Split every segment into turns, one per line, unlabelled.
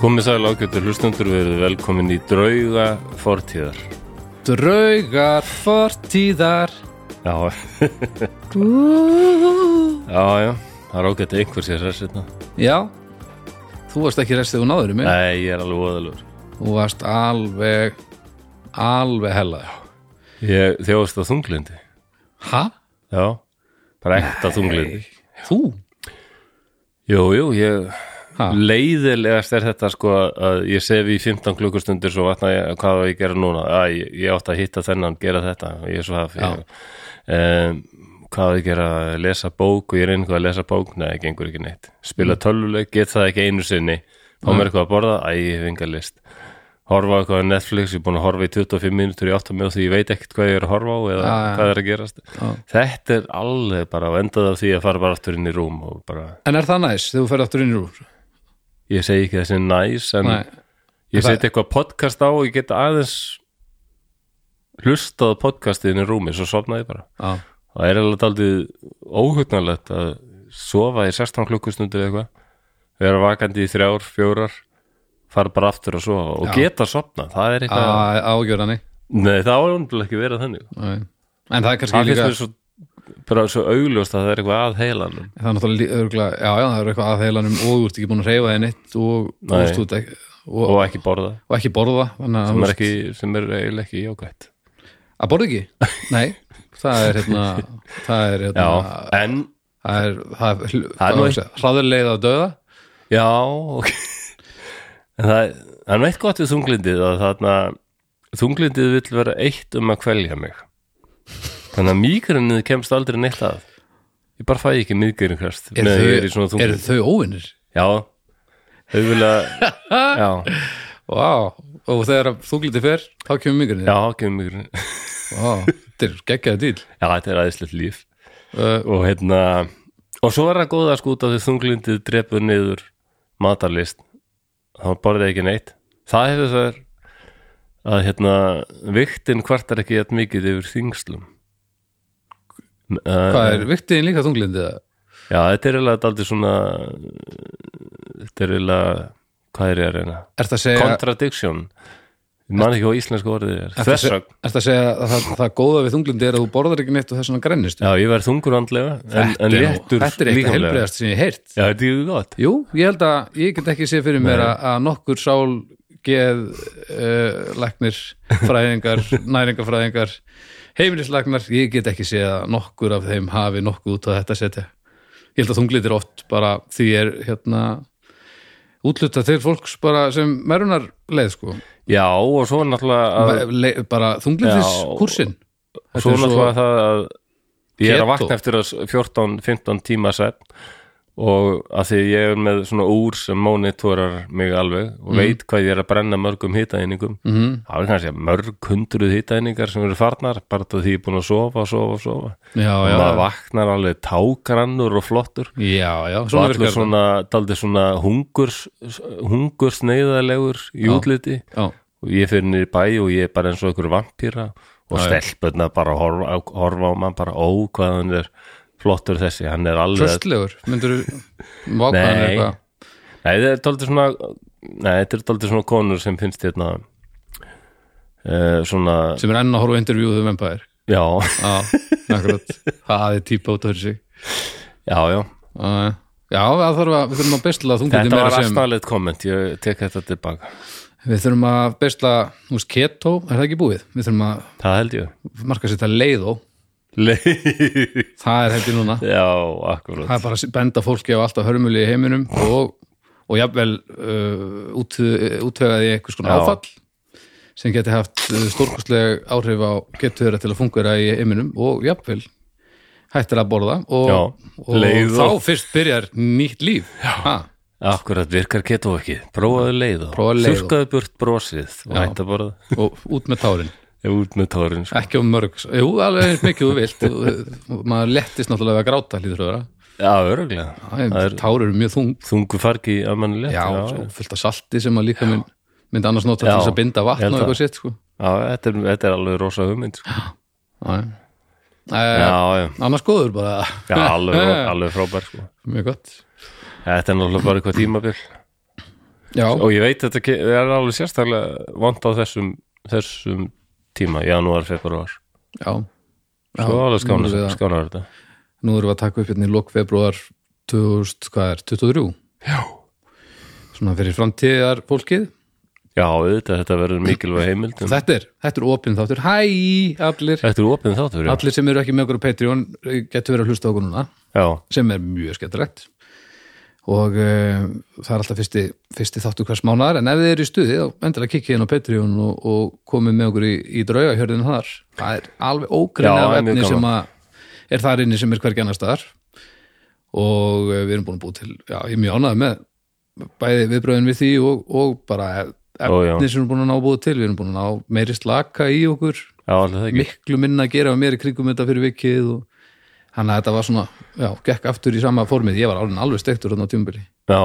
Komið sæl ágættur hlustundur verið velkomin í drauga fortíðar
Draugar fortíðar
Já,
Ú.
já, já, það er ágætt að einhver sér sér sérna
Já Þú varst ekki restið og náður í mig
Nei, ég er alveg voðalur
Þú varst alveg alveg hellaður
Ég þjóðast að þunglindi
Ha?
Já, bara ekta þunglindi
Þú?
Jú, jú, ég
Ha?
leiðilegast er þetta sko að ég sef í 15 klukkustundir svo vatna ég, hvað á ég að gera núna að ég, ég átt að hitta þennan, gera þetta ég er svo haf ég, um, hvað á ég að gera, lesa bók og ég er einhver að lesa bók, neða, gengur ekki neitt
Mm.
spila tölvuleik, get það ekki einu sinni fá mér eitthvað að borða, æ, ég hef enga list horfa á eitthvað á Netflix ég er búin að horfa í 25 mínútur í 8 mínútur því ég veit ekkert hvað ég er að horfa á eða
Já, já.
hvað er að gerast þetta er alveg bara á endað af því að fara bara aftur inn í rúm og bara
En er það næs þegar þú ferð aftur inn í rúr?
ég segi ekki þessi næs en
Nei
ég
það-
seti eitthvað podcast á og ég get aðeins hlustað á podcastið í rúmi, svo sofnaði ég bara
Já
það er alveg daldið óhugnalegt að sofa í 16 klukkustundir eða eitthvað vera vakandi í þrjár, fjórar fara bara aftur að sofa og geta sofna það er eitthvað,
Ah. Ágjörðanni
nei það var umdurlega ekki verið þannig
En það er kannski
það
líka
finnst mér svo, bara svo augljóst að það er eitthvað að heilanum
Það er náttúrulega lí- örugglega- Já, já, það er eitthvað að heilanum og þú ert ekki búin að reyfa henni og,
Nei.
og, og, og,
og ekki borða,
og ekki borða þannig að þú
sem er,
veist-
ekki, sem er eiginlega ekki jákvætt
Að borða ekki? Nei, það er hérna það er hérna
já, en
það er, það er,
Það er
það
nú
er hraðurleið að döða
Já, ok En það, það er neitt gott við þunglindið að þarna þunglindið vill vera eitt um að kvelja mig Þannig að mýgrennið kemst aldrei neitt að Ég bara fæ ekki mýgrinn hverst
eru
er í svona
þau, er
þunglindið
þau óvinnir?
Já, þau vilja Já,
Vá, og þegar þú glitið fer þá kemur mingurinn
já, kemur mýgrinn Já,
Vá, þetta er geggjaði dýl
þetta er aðeinslegt líf
uh,
og hérna og svo er það góða sko út af því þunglindið drepur niður matarlist þá borðið ekki neitt það hefur þar að hérna viktin kvartar ekki jætt mikið yfir þingslum uh,
Hvað er, viktiðin líka þunglindið? eða?
já, þetta er eiginlega daldið svona þetta er eiginlega hvað er ég að reyna?
Ertu að segja
Contradiction ég man ekki hvað íslensku orðið er
ertu að segja-
þversögn
Ertu að segja að það, það góða við þunglindið er að þú borðar ekki neitt og þess vegna grennist
já, ég verð þungur andlega en,
Þetta er
en
nú-
léttur
Þetta er eitthvað
líkamlega.
helbriðast sem ég heyrt
já, þetta er gott
Jú, ég held að ég get ekki séð fyrir mér að, að nokkur sál geð uh, læknir, fræðingar, næringafræðingar heimilislæknar, ég get ekki séð að nokkur af þeim hafi nokkuð út á þetta setja. Ég held að þunglit er oft bara því er hérna útluta til fólks bara sem merunar leið sko
já, og svo er náttúrulega að
Le, bara þunglitiskursin Þetta
svo
er svo-
náttúrulega það að ég er að
Keto.
vakna eftir að 14-15 tíma svefn og að því ég er með svona úr sem monitorar mig alveg og
Mhm.
veit hvað ég er að brenna mörgum hitaeiningum mm. það er kannski mörg hundruð hitaeiningar sem eru farnar bara því ég er búin að sofa, sofa, sofa
Já,
og
já,
maður vaknar alveg tágrannur og flottur
já, já,
og
svona
allir
virkar
svona, daldið svona hungurs, hungurs neyðalegur í útliti
Já,
og ég fyrir niður í bæ og ég er bara eins og einhver vampýra og stelpunna bara horfa, á- horfa á mann bara ó hvað hann er flottur þessi hann er alveg
tröstlegur, myndur vákvæðan
Nei.
eitthvað
nei þetta er tóldi svona nei þetta er tóldi svona konur sem finnst hérna uh, svona
sem er enn að horfa á intervjúðu um empire
já
Já, akkurat Það er típa út af þessi
já já
Já, já, það þarf að, við þurfum að besla þunglindi
þetta
meira
var
sem
aðstæðleitt komment ég tek þetta tilbaka
Við þurfum að besla, þú veist, keto er það ekki búið? Við þurfum að
það held ég
marka sér þetta leiðó
Le
Það er heldur núna
já akkurat
Það er bara að benda fólki á alltaf hörmuli í heiminum og, og jafnvel uh, út, útvegaði einhvers
Já.
konar áfall sem geti haft stórkustleg áhrif á getur þeirra til að fungera í heiminum og jafnvel hættir að borða og,
Já,
og
leið
þá
og-
fyrst byrjar nýtt líf ha,
akkurat virkar keto ekki prófaðu leið og
Prófaðu leið og-
þurrkaðu burt brosið og hætt að borða
og út með tárin
út með tórin sko.
ekki um mörg, jú alveg eins mikið þú vilt Þú- maður lettist náttúrulega að gráta hlýtur að vera,
já öruglega Það er-
tár eru mjög þung
þungu fargi að manni létt
já, sko.
já,
já, fullt af salti sem maður líka mynd, myndi annars nota til
Já,
þess að binda
ég
vatn
held
og
það.
eitthvað sitt sko.
já, þetta, er, þetta er alveg rosa hugmynd sko.
Já, já.
já,
Eh,
já,
annars góður bara
já alveg, alveg frábær sko.
mjög gott
þetta er náttúrulega bara eitthvað tímabil
já,
og ég veit þetta ke- er alveg sérstaklega vond á þessum, þessum tíma, janúar, februar
já Já,
svo alveg
nú erum
skánar,
við að-
skánar þetta
Nú erum við að taka upp hérna í lok februar 2000, hvað er, 23
já,
svona fyrir framtíðar fólkið
já auðvitað, þetta verður mikilvæg heimild um-
og þetta er, þetta er opinn þáttur hæ allir,
þetta er opið um þáttur já.
allir sem eru ekki með okkur á Patreon eh, getur verið að hlusta á okkur núna
já,
sem er mjög skemmtilegt og uh, það er alltaf fyrsti, fyrsti þáttur hvers mánar en ef þið eru í stuði þá endilega kikkið inn á Patreon og, og komið með okkur í, í draugahjörðin þar það er alveg
Já,
ógrinni af
það er mjög
efni
gaman.
sem að er þar inni sem er hvergi annar staðar og eh, við erum búin að búið til já, ég er mjög ánægð með bæði viðbröðin við því og, og bara ef-
Ó, já.
efni sem við erum búin að ná búið til við erum búin að ná meiri slaka í okkur
já, allir það ekki
miklu minna að gera og mér í krigum þetta fyrir vikið og hann að þetta var svona, já, gekk aftur í sama formið, ég var alveg alveg stektur þarna á tjúmbili
já,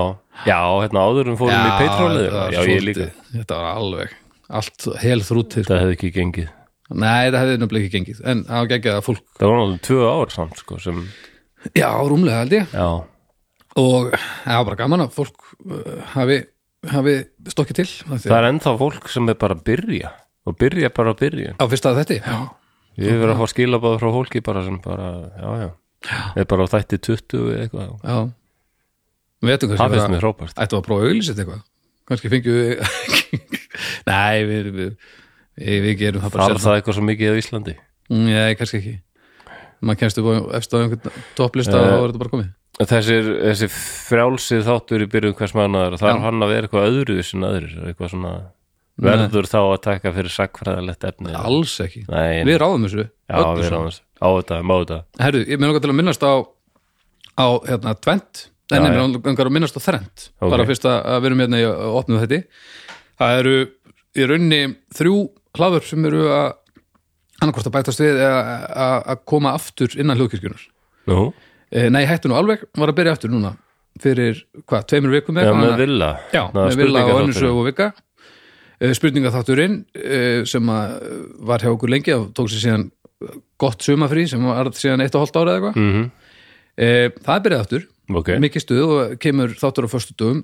já, hérna áður um fórum í petrólið já, ég líka,
þetta var alveg, allt hel sko. þrútir
þetta hefði ekki gengið
nei, það hefði nefnilega ekki gengið, en það var geggjaða fólk
það var náttúrulega tvö ár samt sko, sem,
já, rúmlega held ég
já,
og það var bara gaman að fólk uh, hafi, hafi stokkið til af því
það
að-
er ennþá fólk sem er bara að byrja og byrja bara að byrja
á fyrsta þetta, já,
Ég hef verið að fá skilabáð frá hólki bara sem bara, já, já, er bara á þætti 20 eða eitthvað.
já við veitum
Það
hvað
finnst mér hrópast.
Ættu að prófa að auglýsa þetta eitthvað? Kannski fengjum við... Nei, við, við, við, við gerum það
Það
bara
er
sjálf. Mm,
það eitthvað svo mikið á Íslandi.
Nei, kannski ekki. Maður kemst upp á eftir á einhvern topplista og þá
Eh,
er þetta bara komið.
Þessir, þessi frjálsir þáttur í byrjun hvers mannaður, það er hann að vera eitthvað öðru sem öðru, eitthvað svona verður þá að taka fyrir sakfræðalegt efni.
Alls ekki.
Nei,
Við ráðum þessu.
já, við erum aðeins á þetta, má þetta.
Herru, ég með langar til að minnast á, á hérna, tvent.
Já,
Nei, nei,
já.
mér langar að minnast á þrent.
Ok.
Bara fyrst að að við erum hérna í að opna þetta. Það eru í raunni þrjú hlaður sem eru að annarkvort að bætast við eða að- að koma aftur innan hljóðkirkjunar.
Nú,
Eh, Nei, hættu nú alveg, var að byrja aftur núna fyrir, hvað, tveimur vikum
já, með
annað-
villa.
Já, með villa og önnur sögu og vika Eh, Spurningaþátturinn eh, sem að eh, var hjá okkur lengi og tók sér síðan eh, gott sumafrí sem var síðan eitt og hálft ára eða eitthvað
Mm
Eh, Það er byrjað aftur,
Ok,
mikið stuð og kemur þáttur á föstu dögum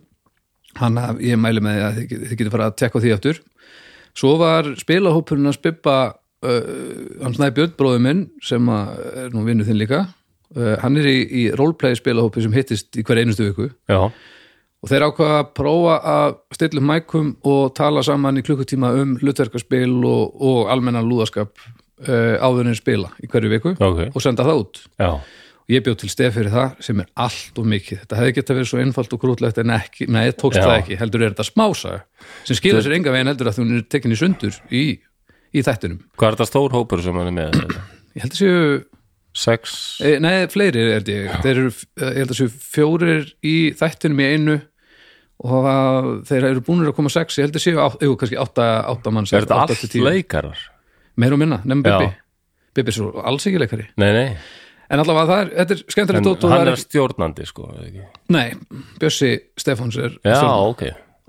hann að ég mæli með að þið, þið getur fara að tekka á því aftur svo var spilahópurinn að spippa uh, hann Snæbjörn, bróður minn sem að er nú vinnu þinn líka uh, hann er í, í roleplay spilahópi sem hittist í hver einustu viku
já,
og þeir ákvaða að prófa að stilla upp mækum og tala saman í klukkutíma um hlutverkaspil og, og almennan lúðaskap uh, áður en spila í hverju viku
ok,
og senda það út
já,
ég bjóð til stef fyrir það sem er allt og mikið þetta hefði geta verið svo einfalt og krútlegt en ekki, nei, tókst
Já.
það ekki, heldur er þetta smásaga sem skilur sér enga veginn heldur að þú er tekinni sundur í, í þættinum
hvað er þetta stór hópur sem hann er með?
ég held að séu,
Sex,
e, nei, fleiri er held ég, þeir eru, e, ég held að séu fjórir í þættinum í einu og það, þeir eru búnir að koma sex, ég held að séu, á, jú, kannski átta, átta manns,
er þetta
átta til
allt
tíu.
leikarar?
meir og minna, nefnum
Já.
Bibi Bibi er svo alls ekki leikari
Nei, nei.
en allavega það er, þetta er skemmtilegt
En
dót og það
hann
er
er stjórnandi sko eða ekki?
ekki- nei, Bjössi Stefáns er
Já,
stjórnar.
ok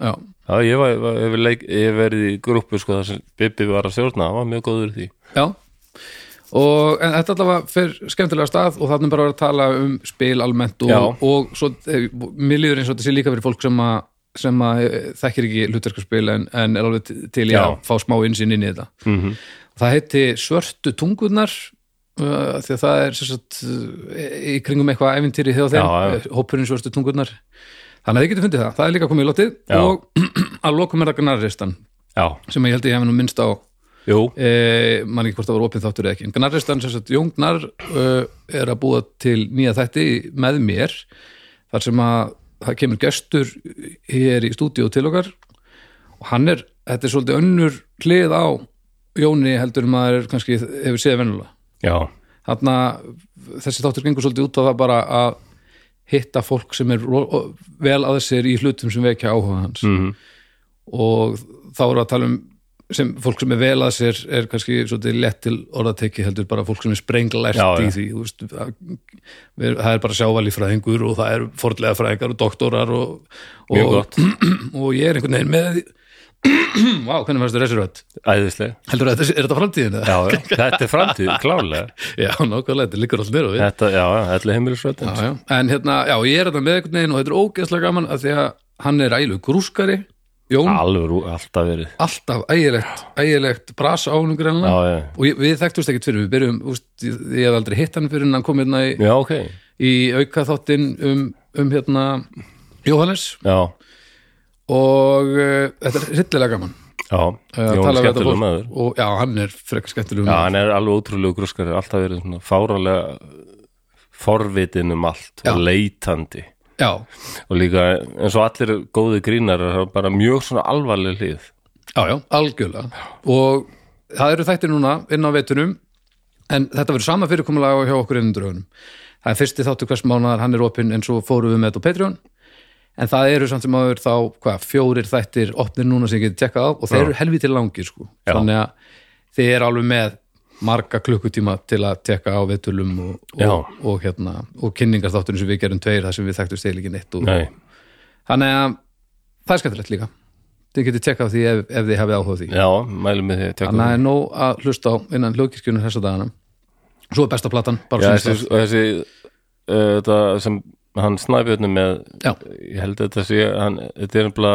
Já.
Já, ég var, var, ég var leik, ég hef verið í grúppu sko þar sem Bibi var að stjórna, hann var mjög góður í því
Já og en þetta allavega fyrir skemmtilega stað og þannig bara að vera að tala um spil almennt
Já.
og, og svo eh, mér líður eins og þetta sé líka fyrir fólk sem að sem að eh, þekkir ekki hlutverkarspil en, en er alveg til- til í
Já.
að fá smá einsinn inn í þetta
mm -hmm.
það heiti svörtu tungurnar uh, því að það er sem sagt, eh, í kringum eitthvað æfintýri hjá þeim,
Já, já.
eh, hópurinn svörtu tungurnar þannig að þið getur fundið það, það er líka komið í lotið
Já.
og að lokum er það gnarristan
Já,
sem ég held ég hef nú minnst á
jú,
e, mann ekki hvort það var opið þáttur eða ekki en Gnarristan, sem sagt, Jón Gnar uh, er að búa til nýja þætti með mér þar sem að það kemur gestur hér í stúdíu til okkar og hann er, þetta er svolítið önnur hlið á Jóni heldur en maður er kannski hefur séð venulega
já,
þarna þessi þáttur gengur svolítið út á það bara að hitta fólk sem er ro- vel að sér í hlutum sem vekja áhuga hans
mm
og þá erum við að tala um sem fólk sem er vel að sér er kannski svolítið lett til orðateki heldur bara fólk sem er sprenglært
Já,
í
já.
því þú veist, það, við- það er bara sjávalífræðingur og það er fordlega fræðingar og doktorar og,
mjög
og,
gott
og ég er einhvern veginn með Vá, hvernig fannst þú resurrödd?
Æðislega,
Heldur að þetta, er þetta framtíðin?
já, já. þetta er framtíð, klálega
já nákvæmlega, þetta liggur allt nýr á við
Þetta, já, já, þetta er heimilisvöldin
hérna já, já. en hérna, já, ég er þetta með einhvern veginn og þetta er ógeðslega gaman að því að hann er ælu grúskari Jón,
alveg rú- alltaf verið
alltaf ægilegt, ægilegt bras á hún
já,
greinlega
já,
og ég, við þekktumst ekkert fyrir, við byrjum úst, ég, ég hef aldrei hitt hann fyrir en hann kom hérna í,
já, ok
í auka þáttinn um, um hérna Jóhannes
já,
og uh, þetta er hryllilega gaman eh,
já,
að
Jón er
við þetta
skemmtilega
fólk.
maður
og, já, hann er frekar skemmtilega
já,
maður
hann er alveg ótrúlega grúskari alltaf verið svona fáralega forvitin um allt og leitandi
já,
og líka eins og allir góði grínar bara mjög svona alvarleg hlið
já, já, algjörlega og það eru þættir núna inn á vetunum en þetta verður sama fyrirkomulega hjá okkur inn draugunum það er fyrsti þáttur hvers mánaðar, hann er opinn eins og fórum við með þetta á Patreon en það eru samt sem áður þá hvað, fjórir þættir opnir núna sem ég geti tjekkað á og þeir eru helviti langir sko
Já.
þannig að þeir eru alveg með marga klukkutíma til að tekka á veitulum og,
Já.
og, og, hérna, og kynningarþáttunum sem við gerum tveir þar sem við þekktum stil ekki neitt og,
nei,
Þannig að það er skemmtilegt líka Þið getið tjekkað á því ef, ef þið hafið áhuga á því
já, mælum við því að
Þannig
tjekka
að það er nóg að hlusta á innan hlugkirkjunum þessa dagana Svo er besta platan,
Já,
bara
þessi,
svona
og þessi uh, þetta sem hann snæbjörnum með
Já.
ég held að þetta sé hann, þetta er umla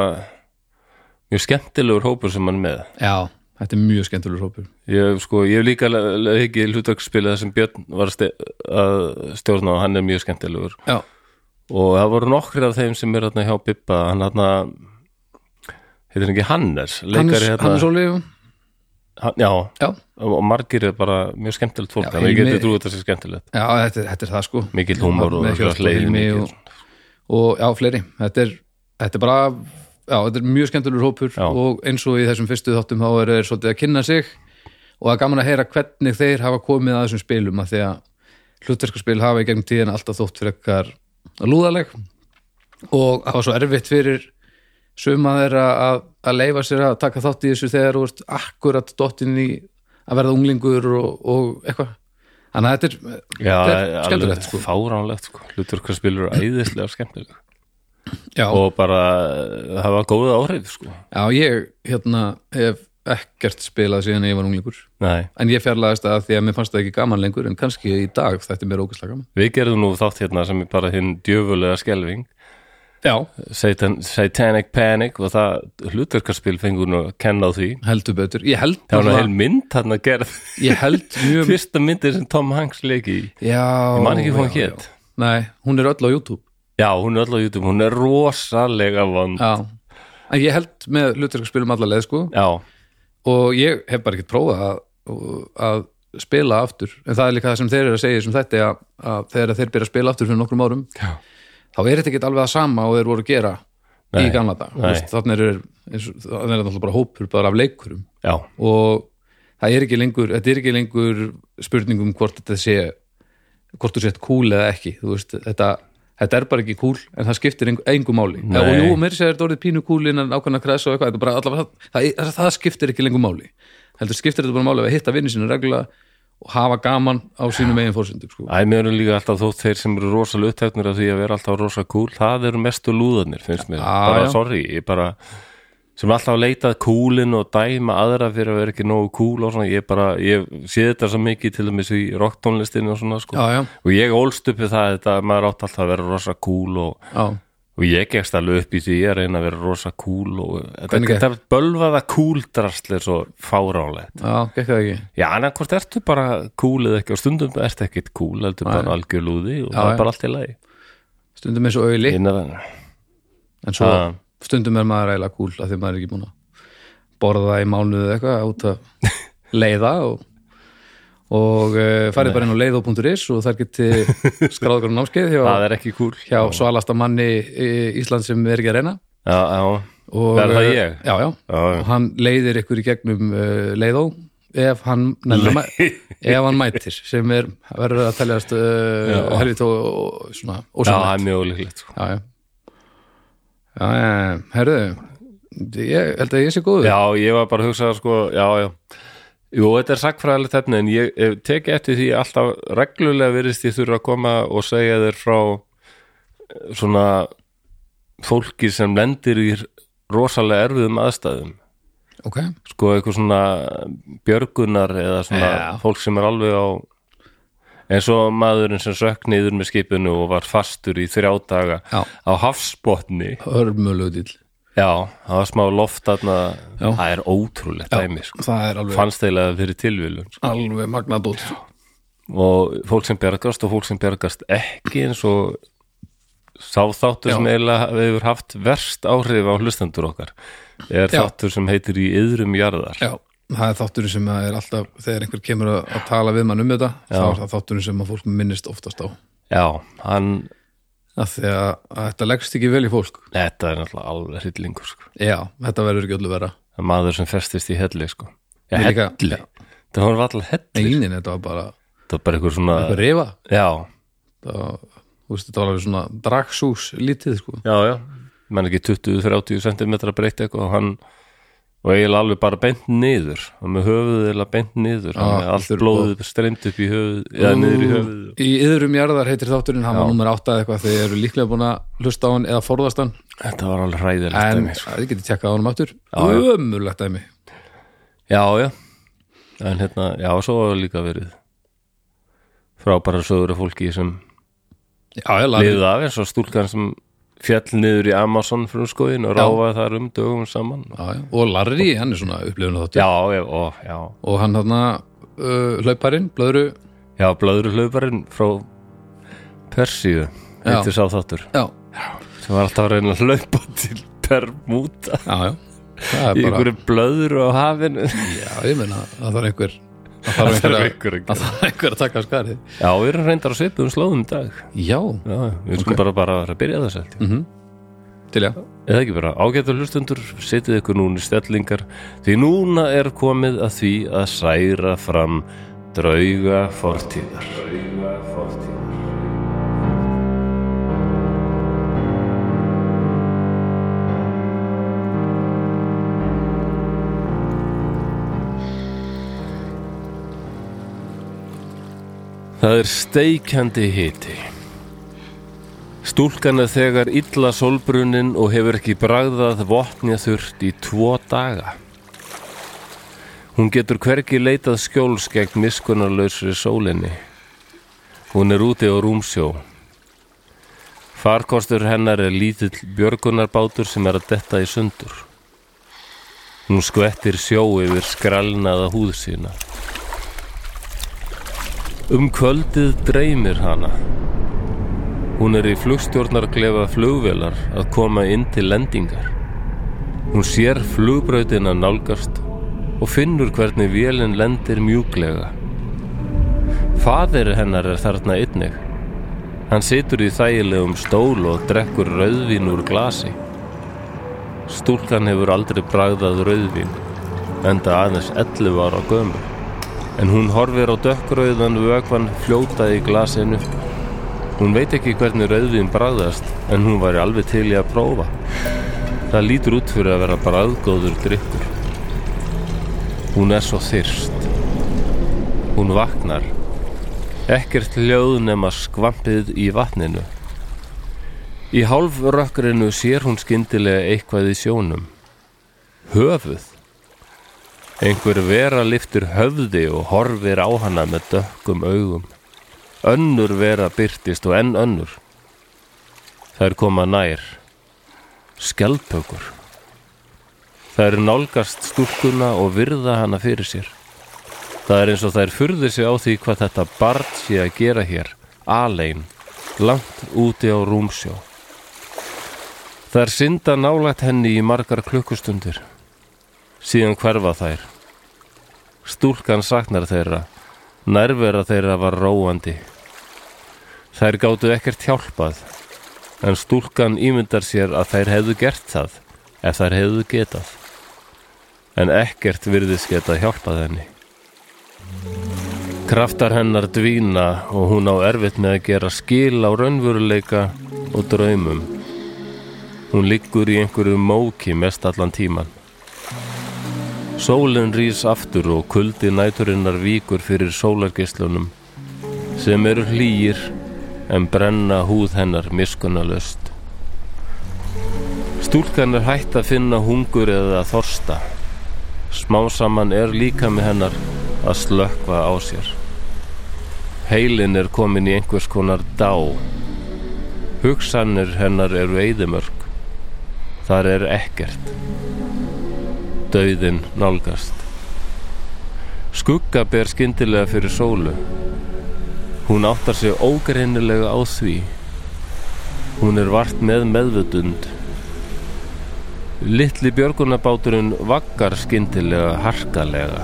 mjög skemmtilegur hópur sem hann er með
Já, þetta er mjög skemmtilegur hópur
ég hef sko, ég hef líka le- le- leikið hlutverkspilið þar sem Björn var að ste- að stjórna og hann er mjög skemmtilegur
Já,
og það voru nokkri af þeim sem er hérna hjá Bibba hann hérna heitir hann ekki Hannes,
Hannes,
leikari hérna
Hannes Óli Já,
hann, já, og margir er bara mjög skemmtilegt fólk,
Já,
þannig ég
Hilmi-
geti trúið þetta sé skemmtilegt
já þetta, er- þetta er það sko
mikill húmor og
Með
örugglega
Hjörtur
hlegið
Hilmi
mikið.
og, og já, fleiri þetta er, þetta er bara já, þetta er mjög skemmtilegur hópur
Já.
og eins og í þessum fyrstu þáttum þá er þeir svolítið að kynna sig og það er gaman að heyra hvernig þeir hafa komið að þessum spilum að því að hlutverkarspil hafa í gegnum tíðina alltaf þótt fyrir ekkar lúðaleg og það var svo erfitt fyrir suma þeirra að, að leifa sér að taka þátt í þessu þegar þú ert akkurat dottinn í að verða unglingur og, og eitthvað þannig að þetta er,
Já,
þetta er skemmtilegt
sko. fáránlegt sko. hlutur hvað spilur æðislega skemmtileg
Já.
og bara eh, hafa góða áhrif sko.
Já, ég hérna hef ekkert spilað síðan ég var unglingur
Nei,
en ég fjarlæðist það af því að mér fannst það ekki gaman lengur en kannski í dag þetta er mér ógæslega gaman
við gerðum nú þátt hérna sem er bara hinn djöfulega skelving
Já,
Satan, Satanic Panic og það hluturkarspil fengur nú að kenna á því
heldur betur Ég held,
Það var nú
náttúrulega-
heil mynd hann að gerð
ég held mjög
Fyrsta myndið sem Tom Hanks leiki í
Já,
Ég man ekki hvað hún
já,
hét
já. Nei, hún er öll á YouTube
Já, hún er öll á YouTube, hún er rosalega vond
Já, en ég held með hlutverk spilum alla leið sko
Já,
og ég hef bara ekkert prófað að, að spila aftur en það er líka það sem þeir eru að segja sem þetta að, að þegar þeir byrja að spila aftur fyrir nokkrum árum
Já.
þá er þetta ekkert alveg að sama og þeir voru að gera
Nei.
í gamla dag
Nei.
þannig er þetta alltaf bara hópur bara af leikurum
já,
og það er ekki lengur þetta er ekki lengur spurning um hvort þetta sé hvort þú sett cool eða ekki þú veist, þetta, þetta er bara ekki cool en það skiptir engu, engu máli
Nei.
og jú, mér segir þetta orðið pínu cool innan ákveðna kress og eitthvað, þetta er bara allavega það, það, það skiptir ekki lengur máli heldur skiptir þetta bara máli að hitta vinni sínu regla og hafa gaman á sínum eigin fórsendum sko.
Æ, mér eru líka alltaf þótt þeir sem eru rosalega upptæknir af því að vera alltaf rosa cool það eru mestu lúðanir, finnst mér
Já,
bara,
já.
sorry, ég bara sem alltaf leitað coolin og dæma aðra fyrir að vera ekki nógu cool og svona ég bara, ég sé þetta svo mikið til dæmis í rocktónlistinu og svona sko
já, já,
og ég ólst uppi það þetta að maður átt alltaf að vera rosa cool og,
já,
og ég gekst alveg upp í því að reyna að vera rosa cool og þetta,
Hvernig gekk?
þetta bölvaða cool drastl er svo fáránlegt
já, gekk það ekki
Já, en hvort ertu bara cool eða ekki og stundum ertu ekkit cool, heldur bara algjör lúði og
Já,
það
já.
er bara allt í lagi
stundum eins og auðli
Innan það
en svo
Ha.
stundum er maður eiginlega kúl af því maður er ekki búin að borða í mánuðu eða eitthvað út að leiða og, og uh, farið bara inn á leiðó.is og þar geti skráð okkur á námskeið
Það
hjá,
er ekki kúl
hjá svalasta manni í Ísland sem er ekki að reyna
Já, já,
og,
Er það
eh,
ég? Ah.
Já, já,
já,
og hann leiðir ykkur í gegnum uh, leiðó ef hann, nefnir, mæ- ef hann mætir sem er, verður að teljast uh, helvit og, og svona
já,
ósannlegt
það er mjög ólíklegt sko.
já, já já, já, já, herðu ég held að ég sé góður
Já, ég var bara að hugsa það sko, já, já Jú, þetta er sagfræðilegt efni en ég eh, tek eftir því alltaf reglulega virðist ég þurfa að koma og segja þér frá eh, svona fólki sem lendir í rosalega erfiðum aðstæðum
ok,
sko eitthvað svona björgunar eða svona
Já.
fólk sem er alveg á en svo maðurinn sem sökk niður með skipinu og var fastur í þrjá daga
Já.
á hafsbotni
hörmulegu dýl
já, það var smá loft þarna,
Já.
það er ótrúlegt dæmi sko.
það er alveg,
fannst eiginlega fyrir tilvílun sko.
alveg magnadótt
og fólk sem bjargast og fólk sem bjargast ekki eins og sá þáttur
Já.
sem eiginlega hefur haft verst áhrif á hlustendur okkar er
Já.
þáttur sem heitir í yðrum jarðar
já, það er þátturinn sem að er alltaf þegar einhver kemur að, að tala við mann um þetta þá
Já.
er það þátturinn sem að fólk minnist oftast á
Já, hann,
af því að, að þetta leggst ekki vel í fólk
þetta er náttúrulega alveg hryllingur sko.
já, þetta verður ekki öllu vera
Það er maður sem festist í helli sko. Já,
Mér líka-
helli, það var alltaf helli
einin, þetta var bara
Það var bara einhver svona
að rifa
Já,
það, var- þú veist, þetta var alveg svona dragsús lítið sko
já, já menn ekki 20-30 cm breytt eitthvað og hann og eiginlega alveg bara beint niður og með höfuð eiginlega beint niður
Já,
ah, allt
þurr-
blóðið streymt upp í höfuð eða niður í höfuð
Í yðrum jarðar heitir þátturinn hann var nummer 8 eitthvað þegar þið eru líklega búin að hlusta á hann eða forðast hann
Þetta var alveg hræðilegt
en
dæmi, sko.
þið getið tjekkað á hann aftur
já.
ömurlegt dæmi
Já, já en hérna, já, svo var líka verið frábæra sögur af fólki sem
já, ég lærði
lifið af eins og stúlkan sem fjall niður í Amazon frumskóin og ráfaði þar um dögum saman
Já, já. og Larry, hann er svona upplifun þáttur
já, já, ó, já,
og hann hann uh, hlauparinn, blöðru
já blöðru hlauparinn frá Persíu
Já.
eittir sá þáttur
já,
sem var alltaf að reyna að hlaupa til Permúta
já, já það er
í
bara,
einhverju blöðru á hafinu
já, ég meina að það er einhver að það er einhver að,
einhver að
að, það er einhver að taka af skarið
já, við erum reyndar að svipa um slóðum í dag
já,
já, við skulum bara, bara að byrja þess að
til já
eða ekki bara ágættur hlustundur setið ykkur núna í stellingar því núna er komið að því að særa fram drauga fortíðar drauga fortíðar Það er steikjandi hiti. Stúlkan er þegar illa sólbrunin og hefur ekki bragðað vopnja þurft í tvo daga. Hún getur hvergi leitað skjóls gegn miskunarlausri sólinni. Hún er úti á rúmsjó. Farkostur hennar er lítill björgunarbátur sem er að detta í sundur. Hún skvettir sjó yfir skralnaða húð sína. Um kvöldið dreymir hana. Hún er í flugstjórnarklefa flugvelar að koma inn til lendingar. Hún sér flugbrautina nálgast og finnur hvernig vélinn lendir mjúklega. Fadir hennar er þarna einnig. Hann situr í þægilegum stól og drekkur rauðvín úr glasi. Stúlkan hefur aldrei bragðað rauðvín, enda aðeins 11 ára gömur. En hún horfir á dökkrauðan vögvan fljóta í glasinu Hún veit ekki hvernig rauðvín bragðast en hún væri alveg til í að prófa. Það lítur út fyrir að vera bragðgóður drikkur. Hún er svo þyrst. Hún vaknar. Ekkert hljóð nema skvampið í vatninu. Í hálfrökkrinu sér hún skyndilega eitthvað í sjónum. Höfuð. Einhver vera liftir höfði og horfir á hana með dökkum augum önnur vera byrtist og enn önnur. Þær koma nær. Skelpökur. Þær nálgast stúlkuna og virða hana fyrir sér. Það er eins og þær furði sig á því hvað þetta barn sé að gera hér, alein, langt úti á rúmsjó. Þær synda nálægt henni í margar klukkustundir. Síðan hverfa þær. Stúlkan saknar þeirra Nærvera þeirra var róandi. Þær gáttu ekkert hjálpað, en stúlkan ímyndar sér að þær hefðu gert það ef þær hefðu getað. En ekkert virðis geta hjálpað henni. Kraftar hennar dvína og hún á erfitt með að gera skil á raunvöruleika og draumum. Hún liggur í einhverju móki mest allan tíman. Sólinn rís aftur og kuldi næturinnar víkur fyrir sólargeislunum sem eru hlýir en brenna húð hennar miskunnalöst. Stúlkan er hætt að finna hungur eða þorsta. Smá saman er líka með hennar að slökva á sér. Heilin er komin í einhvers konar dá. Hugsanir hennar eru eðimörk. Þar er ekkert. Dauðin nálgast. Skugga ber skyndilega fyrir sólu. Hún áttar sig ógreinilega á því. Hún er vart með meðvutund. Littli björgunabáturinn vaggar skyndilega harkalega.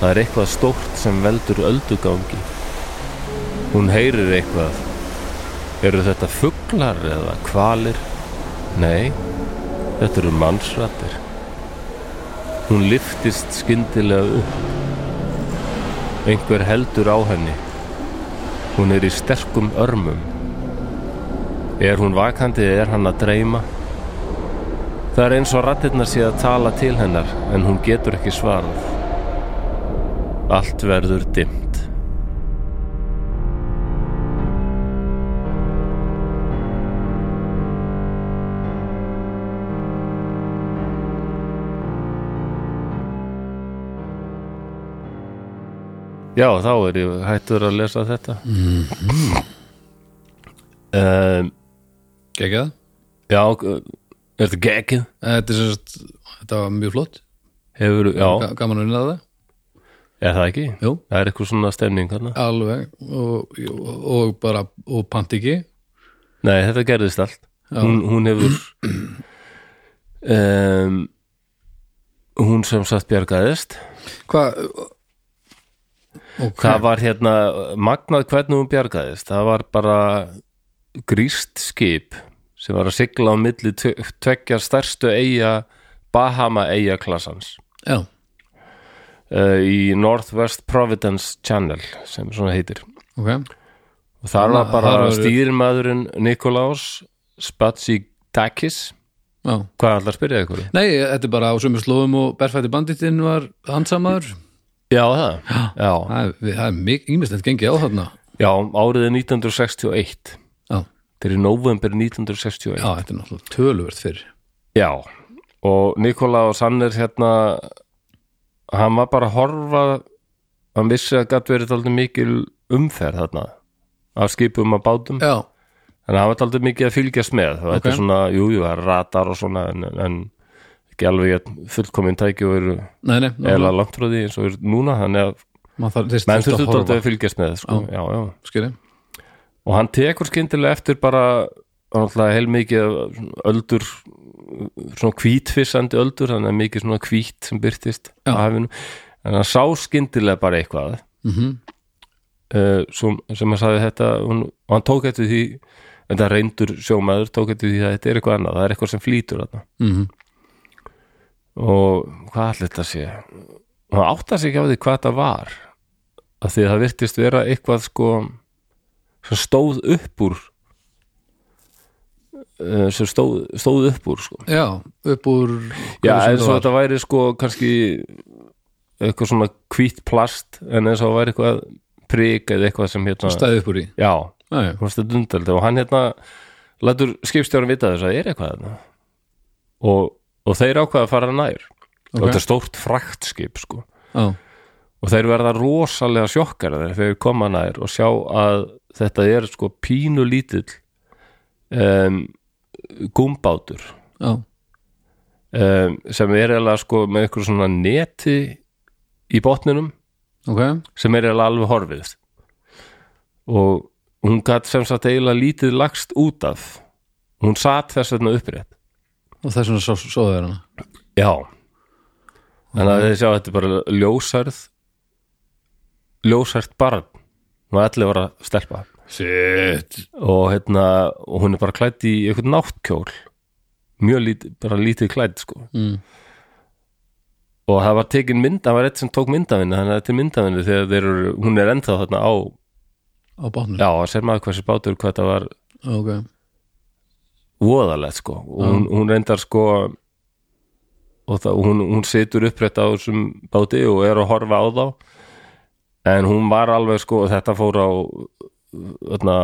Það er eitthvað stórt sem veldur öldugangi. Hún heyrir eitthvað. Eru þetta fuglar eða kvalir? Nei, þetta eru mannsrættir. Hún liftist skyndilega upp. Einhver heldur á henni. Hún er í sterkum örmum. Er hún vakandi eða er hann að dreyma? Það er eins og rattirnar sé að tala til hennar en hún getur ekki svarað. Allt verður dimmt. Já, þá er ég hættur að lesa þetta. Mm.
Gekka það?
Ehm, já, er þetta geggið?
Þetta, er sem sagt, þetta var mjög flott
Hefur, já,
Ga- Gaman að vinna það
er það ekki?
Jú.
Það er eitthvað svona stemning hérna.
Alveg og, og, og bara, og pant ekki
Nei, þetta gerðist allt. Hún, hún hefur, um, hún sem sagt bjargaðist.
Hvað okay.
Það var hérna magnað hvernig hún bjargaðist það var bara gríst skip sem var að sigla á milli tve- tveggja stærstu eiga Bahama eiga klassans
Já,
uh, í Northwest Providence Channel sem svona heitir
ok
og þar var bara
þar voru-
stýrimaðurinn Nikolás Spatsidakis
Já.
hvað ætlar að spyrja ykkur?
Nei, þetta er bara á sömu slóðum og berfætti banditinn var handsamaður
Já, það, já,
Það er, við- það er mik- ýmislegt gengið á þarna
já um árið er 1961
Já,
þegar í november 1961
já þetta er náttúrulega töluvert fyrr
Já, og Nikolaus hann er hérna hann var bara að horfa hann vissi að gætt verið aldrei mikil umferð þarna af skipum að bátum
Já,
en hann var aldrei mikið að fylgjast með og þetta
Ok.
er svona, jú, jú, það er ratar og svona en, en ekki alveg jafn fullkomin tæki og eru
nei, nei
eða langt frá því eins og eru núna þannig að menn þurftu aldrei að fylgjast með sko. já. Já,
Skilji,
og hann tekur skyndilega eftir bara náttúrulega heilmikið af svona öldur svona hvítfissandi öldur þannig að mikið svona hvít sem byrtist á
Já.
hafinu en hann sá skyndilega bara eitthvað
Mhm.
Eh, sem, sem hann sagði þetta hún, og hann tók eftir því en það reyndur sjómaður tók eftir því að þetta er eitthvað annað það er eitthvað sem flýtur þarna
Mhm.
og hvað allir þetta sé og hann átta sig ekki á því hvað þetta var af því að það virtist vera eitthvað sko sem stóð upp úr eh, sem stóð, stóð upp úr sko.
já, upp úr
já,
hverju sem
eins og
það var.
þetta væri sko kannski eitthvað svona hvít plast en eins og það væri eitthvað prik eða eitthvað sem hérna
stæði upp úr í
já,
Já, já.
hún stæði undaldi og hann hérna lætur skipstjórn vita þess að það er eitthvað hérna. og, og þeir ákvaða að fara nær og
Ok.
þetta er stórt fraktskip sko
Já,
og þeir verða rosalega sjokkar þegar þeir koma nær og sjá að þetta er sko pínu lítill um, gumbátur
já,
um, sem er eiginlega sko með ykkur svona neti í botninum
ok
sem er eiginlega alveg horfið og hún gat sem sagt eiginlega lítið lagst út af hún satt þess vegna upprétt
og þess vegna svo, svo er hana
já þannig að þeir sjá að þetta er bara ljósærð ljósærð barn hún var allir var að stelpa
Shit
og hérna og hún er bara klætt í eitthvað náttkjól mjög lítið, bara lítið klætt sko
Mm.
og það var tekin mynd, það var eitt sem tók myndafinni þannig að þetta er myndafinni þegar þeir eru hún er ennþá þarna á,
á bátnum
já, það sér maður hversu bátur hvað það var
Ok,
voðalegt sko og hún, hún reyndar sko og það, hún, hún situr upprætt á þessum báti og er að horfa á þá en hún var alveg sko og þetta fór á öðna,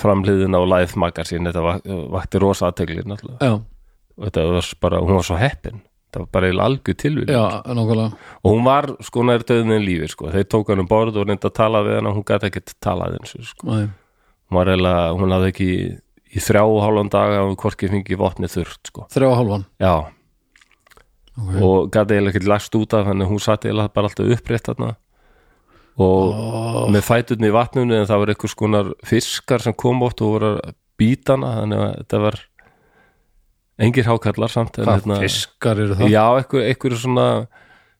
framliðin á Life Magazine þetta vak- vakti rosa aðteglir náttúrulega
já,
og þetta var bara, hún var svo heppin það var bara eiginlega algjör tilvíð
já, nákvæmlega
og hún var sko nær döðin en lífi sko. þeir tók hann um borð og reynda að tala við hann hún gæti ekkert talað eins og sko.
Nei.
hún var eiginlega, hún hafði ekki í þrjá og hálfan dag að hún hvorki fengi vopni þurft sko.
þrjá og hálfan
já,
Ok.
og gæti eiginlega ekkert lagst út af þannig að hún satt eiginlega bara alltaf upprétt þarna og með fæturni í vatninu en það var einhvers konar fiskar sem kom ótt og voru að býta hana þannig að þetta var engir hákallar samt en
hvað
hérna-
fiskar eru það?
Já, einhver, einhver svona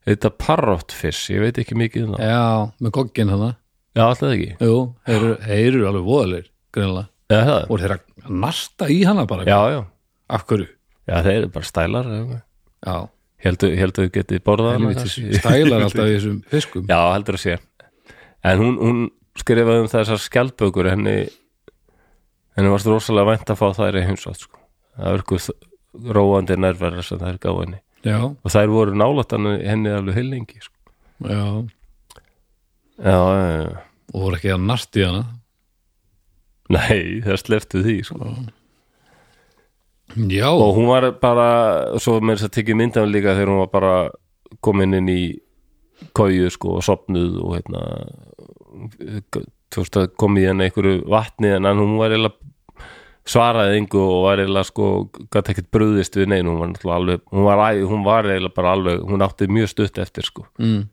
þetta parrotfish, ég veit ekki mikið um það.
með gogginn hana
Já, alltaf ekki
jú, þeir eru, þeir eru alveg voðalegir greinlega,
Já, það
voru þeir að narta í hana bara
Já, já,
af hverju?
já, þeir eru bara stælar eða eitthvað.
já,
Heldur heldur þau getið borðað hana
helvitis
kannski?
stælar alltaf í þessum fiskum
Já, heldur að sé En hún, hún skrifaði um þessar skjaldbökur henni henni varst rosalega vænt að fá þær í heimsótt sko. það er ykkur róandi nærverðar sem þær gáði henni
já,
og þær voru nálætt henni, henni alveg heilengi sko.
já
Já, já, já
og voru ekki að narta í hana
Nei, það sleftu því sko.
já,
og hún var bara svo með þess að tekið myndan líka þegar hún var bara komin inn í kóju sko og sopnuð og hérna þú veist að kom í henni einhverju vatni en hann- hún var eiginlega svaraði engu og var eiginlega sko gæti ekkert bröðist við neinu hún var náttúrulega alveg, hún var, æ- hún var eiginlega bara alveg hún átti mjög stutt eftir sko
mm,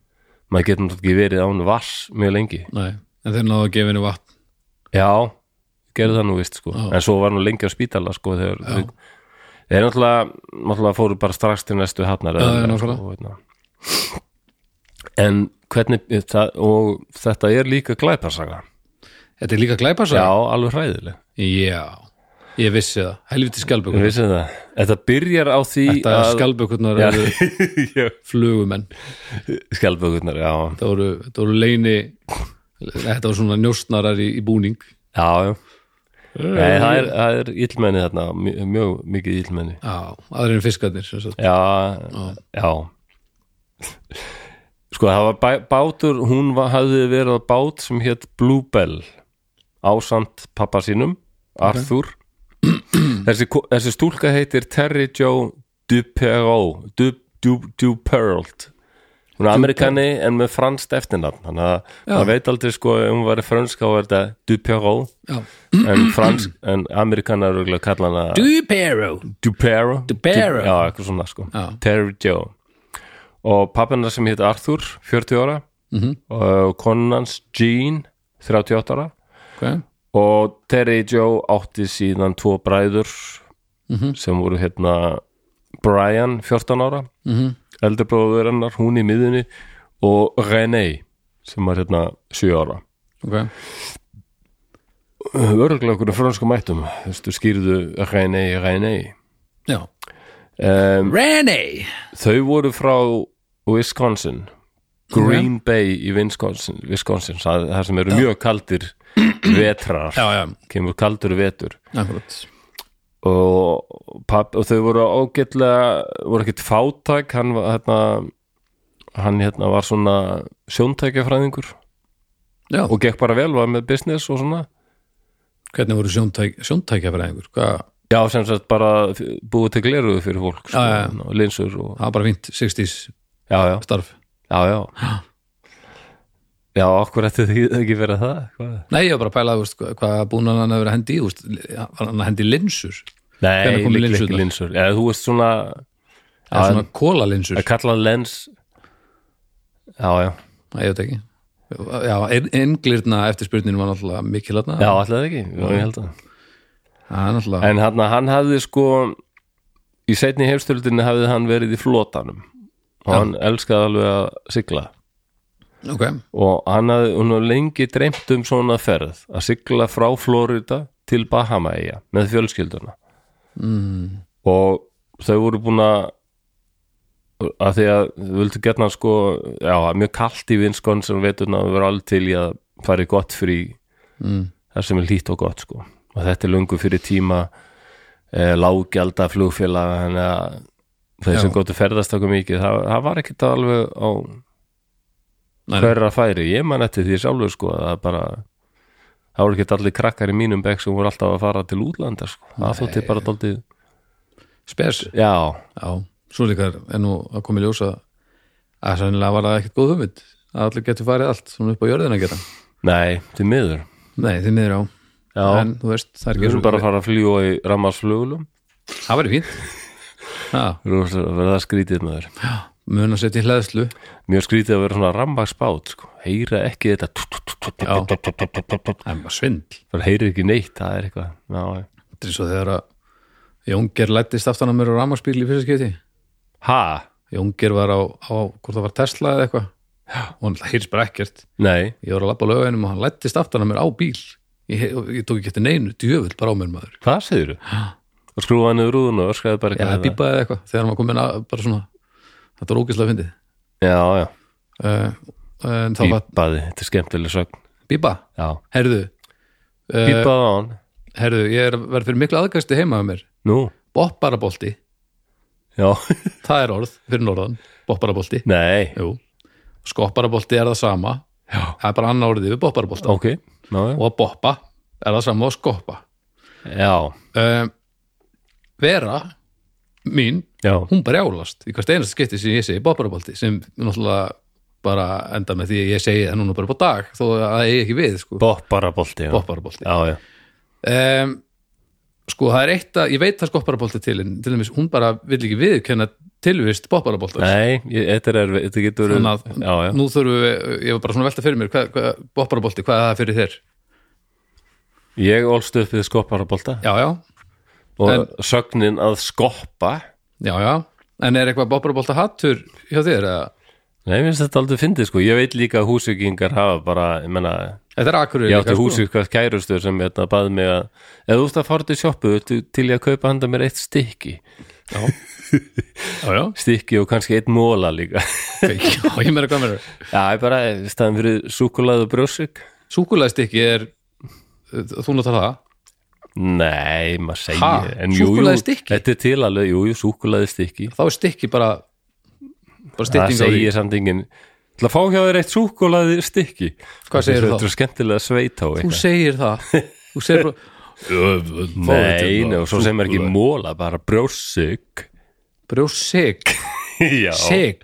maður getur náttúrulega ekki verið án vass mjög lengi
nei en þeir náðu að gefa henni vatn
Já, gerðu það nú vist sko
Já.
en svo var nú lengi á spítala sko þegar
Já.
þeir, þeir náttúrulega, náttúrulega fóru bara strax til næstu hafnar
Já, já,
eða-
nákvæmlega.
sko, hérna. En hvernig eh, það, og þetta er líka glæparsaga
þetta er líka
Já,
glæpasa?
alveg hræðileg
já, ég vissi það, helviti
Ég
skjálbökur
vissi það Þetta byrjar á því
þetta er skjálbökurnar eru
skjálbökunar
flugumenn
Skjálbökunar, já
þetta voru, þetta voru leini þetta voru svona njóstnarar í, í búning
Já, já Nei, það er, það er illmenni þarna, mjög, mjög mikið illmenni
já, aðrir en fiskarnir sem sagt.
Já, já Sko það var bæ, bátur hún var, hafði verið á bát sem hétt Bluebell ásamt pappa sínum, Arthur þessi, ko- þessi stúlka heitir Terry Jo Duperreau Du- Du- Duperreault hún er amerikani en með franskt eftirnafn þannig að
Já.
maður veit aldrei sko ef hún var fransk á þetta Duperreau
já,
en fransk, en amerikanar eru örugglega að kalla hana
Dupero
Dupero
Dupero.
Du- Já, eitthvað svona sko
Já.
Terry Joe Og pappina sem hétt Arthur, 40 ára
Mhm.
og konans Jean 38 ára
okay.
og Terry Joe átti síðan tvo bræður
Mhm.
sem voru hérna Brian, 14 ára
mm
eldri bróður hennar, hún í miðunni og René sem var hérna 7 ára
ok
Örgulega okkur frönsku mættum Vistu, skýrðu René, René
já.
um,
Rennie
Þau voru frá Wisconsin Green Bay í Wisconsin, Wisconsin það, það sem eru mjög kaldir vetrar,
já, já,
kemur kaldur vetur
akkurat
og, papp, og þau voru ágætlega voru ekkert fátæk hann, var, hérna, hann hérna var svona sjóntækjafræðingur
já,
og gekk bara vel, var með business og svona
hvernig voru sjóntæk, sjóntækjafræðingur hvað,
já, sem sagt bara f- búið til gleruðu fyrir fólk sko,
Já, já.
og linsur og,
það var bara fínt 60s
já, já,
starf
já, já já, okkur ætti því ekki verið það hvað
nei, ég var bara að pæla, þú veist, hvað- hvað búin hann að vera að hendi í, þú veist, var hann að hendi í linsur
Nei,
Hvenær komu
líklega ekki
linsurnar?
linsur Já, þú veist svona
eða
Já,
svona kólalinsur
að kalla lens Já, já,
Nei, ég veit ekki Já, englirna eftir spurningin var náttúrulega mikil þarna
já, alltaf ekki Já, ég held að
Það er náttúrulega
En hann, hann hafði sko í seinni heimstöldinni hafði hann verið í flotanum og hann elskaði alveg að sigla
Ok,
og hann hafði hún hafði lengi dreymt um svona ferð að sigla frá Florida til Bahamaeyja með fjölskylduna
mm,
og þau voru búin að að því að þau vildu getna sko, já, mjög kalt í vinskon sem veiturna að vera alveg til í að fara í gott frí
mm,
þar sem er lít og gott sko og þetta er lungu fyrir tíma e, lágjalda flugfélag þannig að þeir
Já.
sem góttu ferðast okkur mikið, það, það var ekkert alveg á
Nei, nei.
hverra færi, ég man eftir því sjálfur sko að það bara það voru ekkert allir krakkar í mínum bekk sem voru alltaf að fara til útlanda sko, það þótti bara daldið,
spes
já
Já, svo líka er nú að koma í ljósa að sannilega var það ekkert góð hugmynd að allir getur farið allt svona upp á jörðina að gera
Nei, til miður
nei, því miður á
Já,
en þú veist, það er
við
ekki
erum bara að fara að fljúa í rammarsflugulum
það væri fínt já,
Við erum að verða skrítið með þér
mun að setja í hlæðslu
Mjög skrítið að vera svona rammarsbát sko. Heyra ekki þetta
Já.
Það
það er bara svindl
heyrir ekki neitt, það er eitthvað Já, já.
þetta er svo þegar að Jónger lættist aftan á mér á rafmagsbíl í fyrsta skipti
Ha?
Jónger var á, á hvort það var Tesla eða eitthvað og hann hýrst bara ekkert
Nei,
ég var að labba á laugainum og hann lættist aftan á mér á bíl ég, ég tók ekki eftir neinu, djöfull bara á mér maður
hvað segirðu? Og skrúfa niður rúðun og öskraði bara
Já, það
eitthvað hérna.
bíbaði eitthvað þegar hann var komin að bara svona þetta var ógislega fyndið
Já, já,
uh, en þá var
bípaði, þetta er skemmtileg sögn
bíba,
Já,
herðu uh,
bípaði á hann
herðu, ég er verið fyrir mikla aðgæsti heima með mér,
Nú,
bopparabolti
já,
það er orð fyrir norðan, bopparabolti
nei
jú, skopparabolti er það sama
Já,
það er bara annar orðið við bopparabolta
ok, já, já
og boppa er það sama og skoppa
Já,
uh, vera mín
já,
hún bara jálast í hvert einasta skipti sem ég segi bobbarabolti sem náttúrulega bara enda með því að ég segi það núna bara på dag þó að það eigi ekki við sko,
bopparabolti já.
bobbarabolti
já, já,
um, sko það er eitt að ég veit að skopparabolti til en til dæmis hún bara vill ekki viðkenna tilvist bobbaraboltar
nei, ég, þetta er erfið Þetta getur,
Þannig að-
já, já
nú þurfum við, ég var bara svona að velta fyrir mér hvað, hvað, bobbarabolti, hvað er það fyrir þér
Ég ólst upp við skopparabolta
já já,
og
en-
sögnin að skoppa
já já en er eitthvað bobbarabolta hattur hjá þér eða?
Nei, mér finnst þetta aldrei fyndið sko Ég veit líka að húsvíkingar hafa bara ég menna,
þetta er sko. akkur
ég átti húsvíkast kærustur sem hérna baði mig að eða þú ert að fara til sjoppu til, til ég að kaupa handa mér eitt stykki
já já,
stykki og kannski eitt móla líka
já ég meira hvað meira
Já, ég bara í staðan fyrir súkulaðu brjósik
súkulæðstykki er þú notar það
Nei, maður segir
Ha?
en jú, jú,
Súkkulaðistykki?
Þetta er til alveg, jú, jú, súkulaðu stykki
þá er stykki bara bara
Það
stytting á því
segir samt enginn Það fá hjá þér eitt súkulaði stykki
Hvað segirðu þá?
Þetta er skemmtilega sveita og
þú
eitthvað
segir það þú segir bara um
Nei, nei, og svo sem er ekki móla, bara brjósik
brjósik
Já,
sik,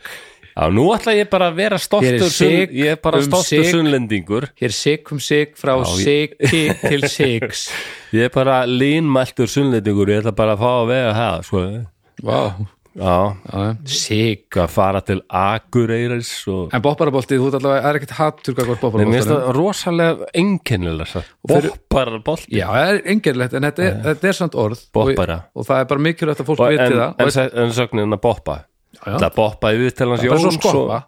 Já, nú ætla ég bara að vera
Ég er
stoltur
sik
sunn- Ég er bara
um
stoltur
sik.
sunnlendingur
hér sik um sik frá siki til siks
Ég er bara línmæltur sunnlendingur Ég ætla bara að fá að vega það, sko
wow.
Já,
sik
að fara til Akureyris og
en bopparabolti, þú ert allavega, það er ekkert hattur hvað var
Nei, mér finnst
bopparabolti
það rosalega einkennilega
fyrir-
Boppara bolti
já, það er engerlegt, en þetta er, þetta er samt orð
Boppara.
og, og það er bara mikilvægt að fólk
en,
viti
en,
það og
en, en sögnin að boppa
Já, já.
Það boppa í viðtelans
bara svo
Jóns
skoppa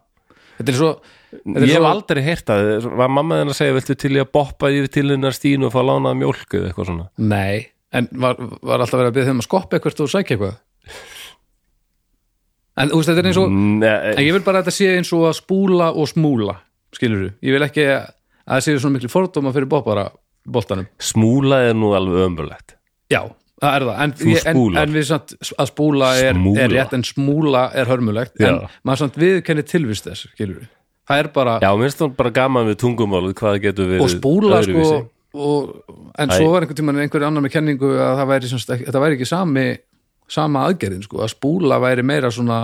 þetta er svo þetta er
Ég hef
svo-
aldrei heyrt það Var mamma þinn að segja, viltu til ég að boppa yfir til hennar stínu og fá lánaða mjólk eða eitthvað svona
Nei, en var, var alltaf verið að byrja þeim að skoppa eitthvað og sækja eitthvað En þú veist, þetta er eins og En
Nei,
ég vil bara að þetta sé eins og að spúla og smúla Skilur þú? Ég vil ekki að það séu svona miklu fordóma fyrir boppara boltanum
smúla er nú alveg ömurlegt
Já, það er það En, ég, en,
spúlar.
en við samt að spúla er,
Smúla.
er rétt en smúla er hörmulegt En
Já.
maður samt viðkenni tilvist þess, skilur þú? Það er bara,
Já, minnst það bara gaman við tungumálið hvað það getur verið
og spúla sko
öðruvísi.
og, en svo var einhvern tímann einhver annar með kenningu að það væri, semst, ekki, það væri ekki sami sama aðgerðin sko, að spúla væri meira svona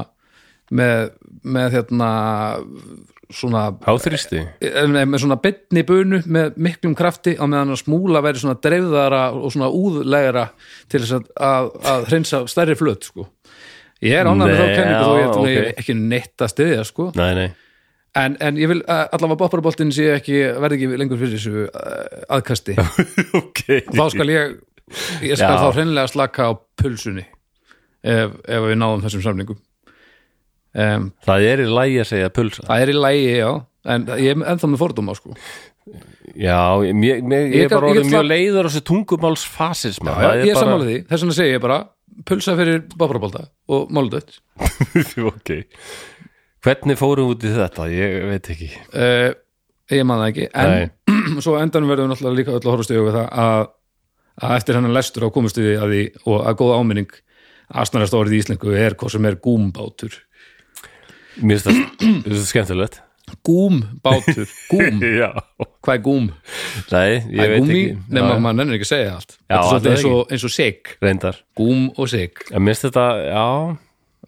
með, með hérna svona
Háþrýsti
eh, nei, með svona bytni bunu með miklum krafti á meðan að smúla væri svona dreifðara og svona úðlegra til þess að, að, að hreinsa stærri flöt sko ég er ánægð með þá
Nei,
kenningu þó ég,
já,
okay. ég
ok.
er ekki neitt að styðja sko
Nei, nei,
En, en ég vil að allavega bopparaboltin sé ekki, verði ekki lengur fyrir þessu eh, aðkasti.
ok
Þá skal ég, ég skal
Já.
þá hreinlega slaka á pulsunni ef, ef við náðum þessum samlingum. Um,
Það er í lægi að segja pulsa
það er í lægi, já, en ég er ennþá með fordóma, sko.
Já, ég, mér, mér, ég,
Ég
er
gat-
bara
ég
orðið
gat
mjög
það-
leiður á þessu tungumálsfasisma
Já, ég er sammála því, þess vegna segi ég bara pulsa fyrir bopparabolta og máludött.
því ok Hvernig fórum við út í þetta? Ég veit ekki
Uh, ég man það ekki, en svo á endanum verðum við náttúrulega líka öll að horfast í auðvitað við það að, að eftir hennan lestur á komust við að því og að góða áminning aðsnarast orðið í Íslingu er hvað sem er gúmbátur
Mér finnst það- mér finnst það skemmtilegt
gúmbátur, gúm,
Já
hvað er gúm?
Nei,
Það
ég
er
veit
gúmi,
ekki
nema
Já,
maður nennir ekki að segja allt
Já,
þetta er
það er
svolítið eins og, eins og sig,
Reyndar
gúm og sig
En mér finnst þetta, já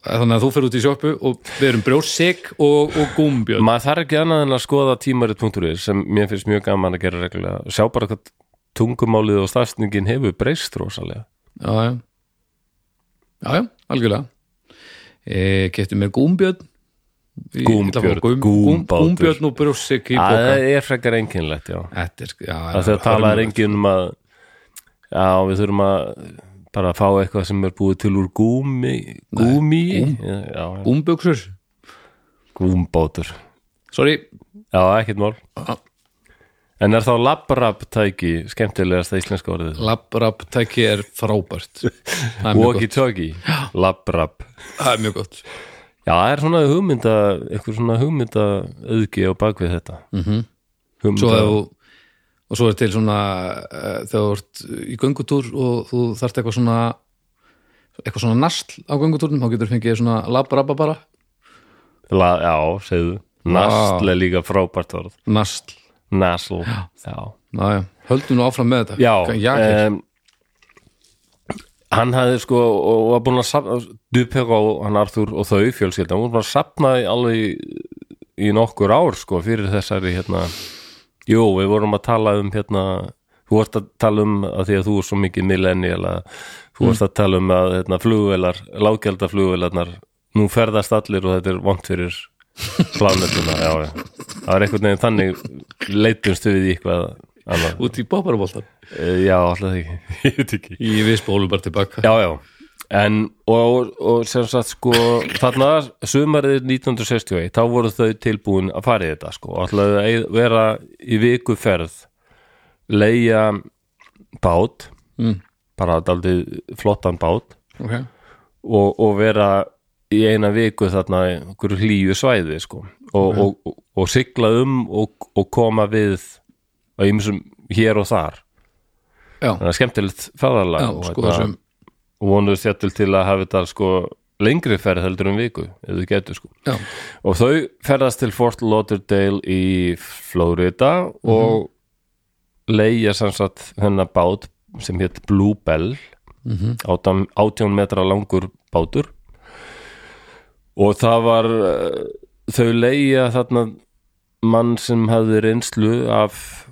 þannig að þú fer út í sjoppu og við erum brjósik og, og gúmbjörn
maður þarf ekki annað en að skoða tímarit.is sem mér finnst mjög gaman að gera reglulega og sjá bara hvað tungumálið og stafsningin hefur breyst rosalega
já, já, já, já algjörlega e, kefti mér gúmbjörn Ég ætla að fá
Gúmbjörn, gúmbátur.
gúmbjörn og brjósik í
það
boka
er frekar einkennlegt já.
þetta er, já, já,
að þegar talaði enginn um að já, við þurfum að bara fá eitthvað sem er búið til úr gúmi gúmi já,
gúmbjöksur
gúmbátur,
sorry,
já, ekkert mál en er þá labrab tæki skemmtilegasta íslenska orðið
labrab tæki er frábært það er mjög gott,
walkie-talkie, labrab
það er mjög gott.
Já, það er svona hugmynda eitthvað svona hugmynda auðgi á bakvið þetta mm -hmm. hugmynda,
Mhm. svo ef þú og svo er til svona uh, þegar þú ert í göngutúr og þú þarft eitthvað svona eitthvað svona nasl á göngutúrnum þá getur fengið svona labrabba bara
la, Já, segðu Nasl er líka frábært orð
nasl,
Nasl, já
nája, höldum nú áfram með þetta
Já, eh,
Jakir.
em, Hann hafði sko og var búin að safna Dupeg og hann Arthur og þau fjölskylda hún var búin að safna í alveg í, í nokkur ár sko fyrir þessari hérna Jú, við vorum að tala um hérna þú vorst að tala um að því að þú er svo mikið millennial að þú vorst að tala um að hérna, flugvelar, lággelda flugvelarnar nú ferðast allir og þetta er vont fyrir plánetuna, já, já það er einhvern veginn þannig leitumstu við í eitthvað annað
út í bóparabóltan
Eh, Já, alltaf ekki Ég veit ekki
í við spólum bara tilbaka
Já, já En, og, og sem sagt sko þarna sumarið 1961 þá voru þau tilbúin að fara í þetta sko og ætlaðu að eyð- vera í viku ferð leia bát
Mm.
bara daldið flottan bát
okay.
og, og vera í eina viku þarna einhverju hlýju svæði sko og, og, og, og sigla um og, og koma við á ýmsum hér og þar
já,
þannig að skemmtilegt ferðarlag
já,
og
sko
hérna-
þessum
og vonuðu þjáttil til að hafa þetta sko lengri ferð heldur um viku ef þau getur sko
já,
og þau ferðast til Fort Lauderdale í Florida og leigja sem sagt hennar bát sem hétt Bluebell mm -hmm. 18 metra langur bátur og það var eh, þau leigja þarna mann sem hafði reynslu af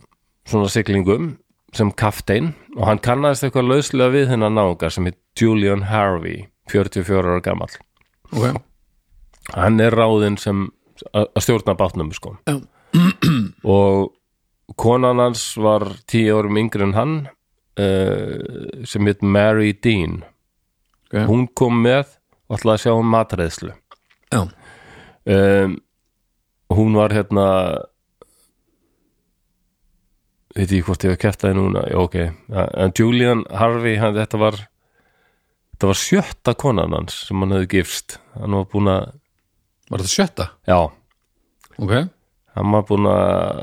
svona siglingum sem kaftein og hann kannaðist eitthvað lauslega við hennar náungar sem hétt Julian Harvey 44 ára gamall
ok
hann er ráðinn sem að að stjórna bátnum sko
Já.
og konan hans var tíu árum yngri en hann uh, sem heit Mary Dean
Ok.
hún kom með og ætlaði að sjá um matreðslu
já,
um, hún var hérna veit ég hvort ég hef kert það núna já ok, en Julian Harvey hann, þetta var þetta var sjötta konan hans sem hann hefði gifst hann var búin að,
var þetta sjötta
já
ok,
hann var búin að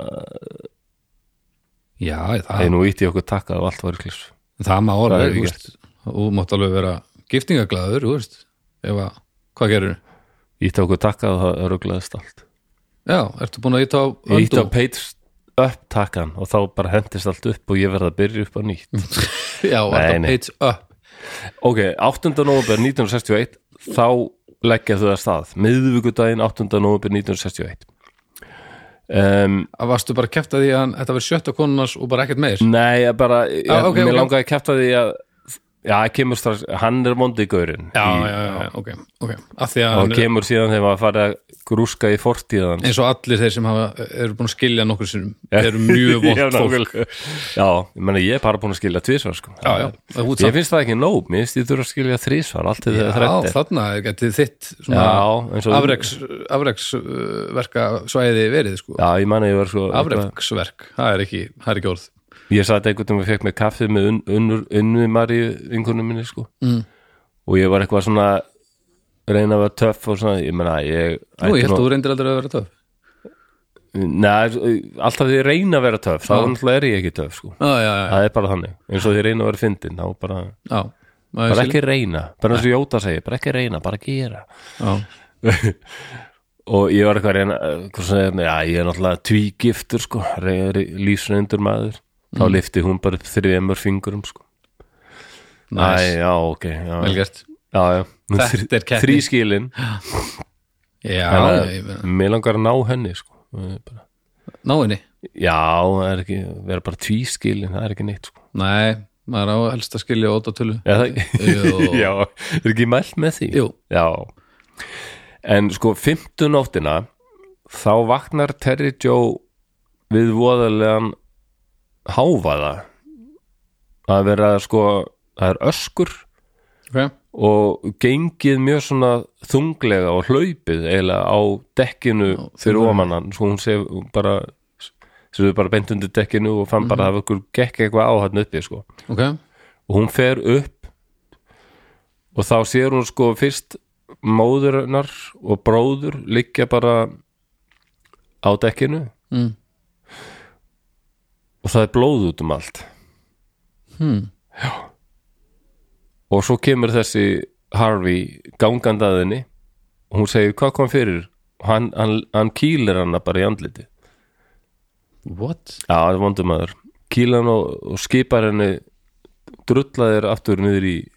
já,
hey,
það,
nú ítti ég okkur takka af allt var í klís
það má
Það
orða
er
þú
ekki
veist. þú mátt alveg vera giftingaglæður, þú veist ef að, hvað gerir
ítti okkur takka og það öruglaðist allt
já, ertu búin að íta á
ég ítti á
öndum?
page up takkan og þá bara hendist allt upp og ég verði að byrja upp á nýtt
já,
Nei,
ertu á
nei.
page up
ok, 8. november 1961 þá leggja þau að stað miðvíkudaginn 8. november 1961 um,
að varstu bara að kæfta því að þetta verið sjötta konunars og bara ekkert meir
nei, ég bara ég,
Ah, ok,
mér
ok.
langaði að kæfta því að já, kemur strax, hann er mondi gaurinn í-
já, ok, ok að því að
og
hann, er-
kemur síðan þegar maður farið að grúska í fortíðan
eins og allir þeir sem hafa, eru búin að skilja nokkur sinnum eru mjög
Já,
vond fólk
nákvæmlega. Já, ég meina ég er bara búin að skilja tvisvar sko.
já, já, það er út
Ég
samt
finnst það ekki nóg, mér finnst ég þurfa að skilja þrísvar allt til þegar
já,
þrætti
þarna getið þitt svona
Já, eins og
afreks, afreksverka svæði verið sko
Já, ég man að ég var svo
afreksverk, það er ekki, það er ekki orð
Ég satt einhvern veginn og fekk með kaffið með unn, unnur, unnu Maríu vinkunum minni sko. mm. og ég var eitthvað svona reyna að vera töff og svona ég meina, ég
Nú,
ætti
ég held
nú-
að þú reyndir aldrei að vera töf
Nei, alltaf því ég reyna að vera töff þá náttúrulega er ég ekki töff sko.
Já, já, já,
það er bara þannig, eins og því ég reyna að vera fyndin þá bara,
já, maður
bara
skilur.
ekki reyna bara eins og Jóta segir, bara ekki reyna, bara gera
já,
og ég var eitthvað að reyna eh, hvað sem er, já, ég er náttúrulega tvígiftur sko, lífsreyndur maður
Mm.
þá lifti hún bara upp þrjumur fingurum sko.
næs,
Æ, já, ok já.
velgert
já, já.
Þetta er keppni.
Þrý skilin
Já, ég meina,
Mér langar að ná henni sko. Eh, bara-
náinni
Já, það er ekki vera bara tví skilin, það er ekki neitt sko.
Nei, maður á helst að skilja ótatölu
Já, það,
Jú.
já, er ekki mælt með því
Jú.
Já En sko, fimmtu nóttina þá vaknar Terry Joe við voðalegan háfaða að vera sko það er öskur
okay.
og gengið mjög svona þunglega og hlaupið eiginlega á dekkinu fyrir ofan hann sko hún sé bara sem við bara beint undir dekkinu og fann
Mhm.
bara að okkur gekk eitthvað á hann uppi sko
ok,
og hún fer upp og þá sér hún sko fyrst móðurinnar og bróður liggja bara á dekkinu
Mm.
og það er blóð út um allt
Hmm.
Já. og svo kemur þessi Harvey gangandaðinni og hún segir hvað kom fyrir og hann, hann, hann kýlir hana bara í andliti
what?
Já, það er vondumæður Kýla hann og, og skipar henni drullaðir aftur niður í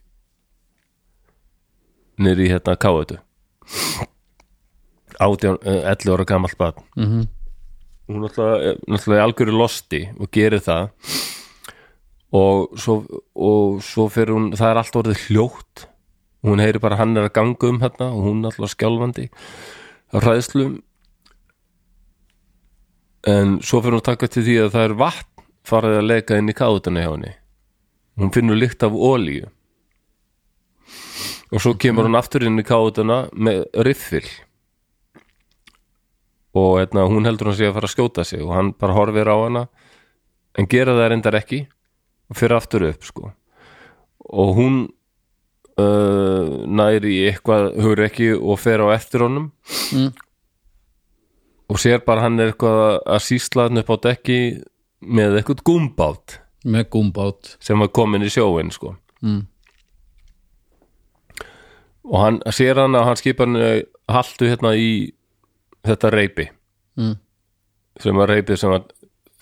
niður í hérna káðutu 18, eh, 11 ára gamalt barn mm -hmm. hún náttúrulega, er- náttúrulega er algjöru losti og gerir það og svo, og svo fyrir hún það er allt orðið hljótt hún heyri bara hann er að ganga um hérna og hún náttúrulega skjálfandi á hræðslum en svo fyrir hún að taka til því að það er vatn farið að leka inn í káðutana hjá henni hún finnur lykt af ólíu og svo kemur hún aftur inn í káðutana með riffil og hérna, hún heldur hann sé að fara að skjóta sig og hann bara horfir á hana en gera það reyndar ekki og fyrir aftur upp sko og hún uh, nær í eitthvað hugur ekki og fer á eftir honum og sér bara hann er eitthvað að sísla hann upp á dekki með eitthvað gumbát
með gumbát
sem var komin í sjóin sko.
mm.
og hann sér hann að hann skipar hann haltu hérna í þetta reypi
Mm.
sem var reypið sem var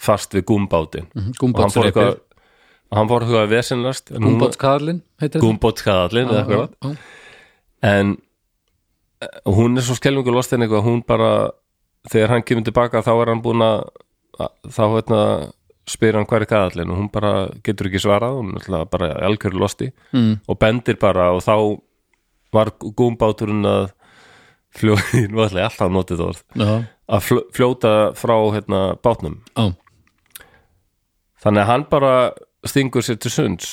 fast við gumbátin mm
Mhm,
og hann fór eitthvað
gumbátsreipir
hann fór eitthvað að vesenlast
gumbátskarlin heitir
gumbátskadallin eða eitthvað
þetta Já,
en eh, hún er svo skelfingur lostin eitthvað hún bara, þegar hann kemur tilbaka þá er hann búin að að- þá hérna spyr hann hver er kaðallin og hún bara getur ekki svarað hún er náttúrulega bara algjörðu losti
já. Mm.
og bendir bara og þá var gúmbáturinn að fljóðin, var alltaf alltaf notið það orð
Já.
að fl- fljóta frá hérna bátnum
Já.
þannig að hann bara stingur sér til sunds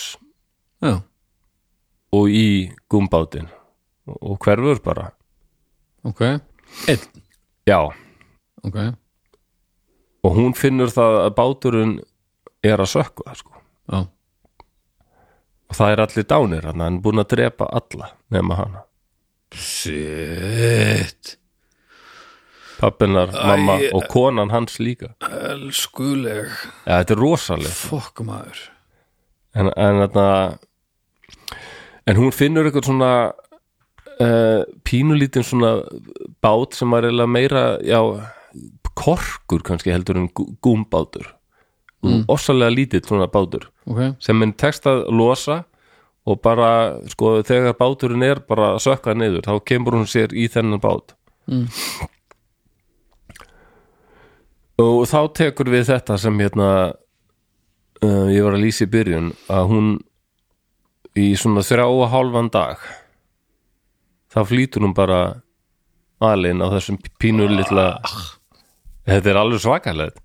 Já.
og í gúmbátin og hverfur bara
ok Einn.
já,
ok,
og hún finnur það að báturinn er að sökva sko.
já,
og það er allir dánir hann hann er búin að drepa alla nema hana
shit
pappinar,
Æ,
mamma og konan hans líka
elskuleg
ja, þetta er rosaleg
fokk maður
en, en, þarna, en hún finnur eitthvað svona uh, pínulítinn svona bát sem var eiginlega meira já, korkur kannski heldur en gú- gúmbátur mm. ossalega lítill svona bátur
ok,
sem minn tekst að losa og bara, sko, þegar báturinn er bara að sökka niður, þá kemur hún sér í þennan bát
Mm.
og þá tekur við þetta sem hérna uh, ég var að lýsa í byrjun að hún í svona þrjá og hálfan dag þá flýtur hún bara alinn á þessum pínur litla þetta er alveg svakalegt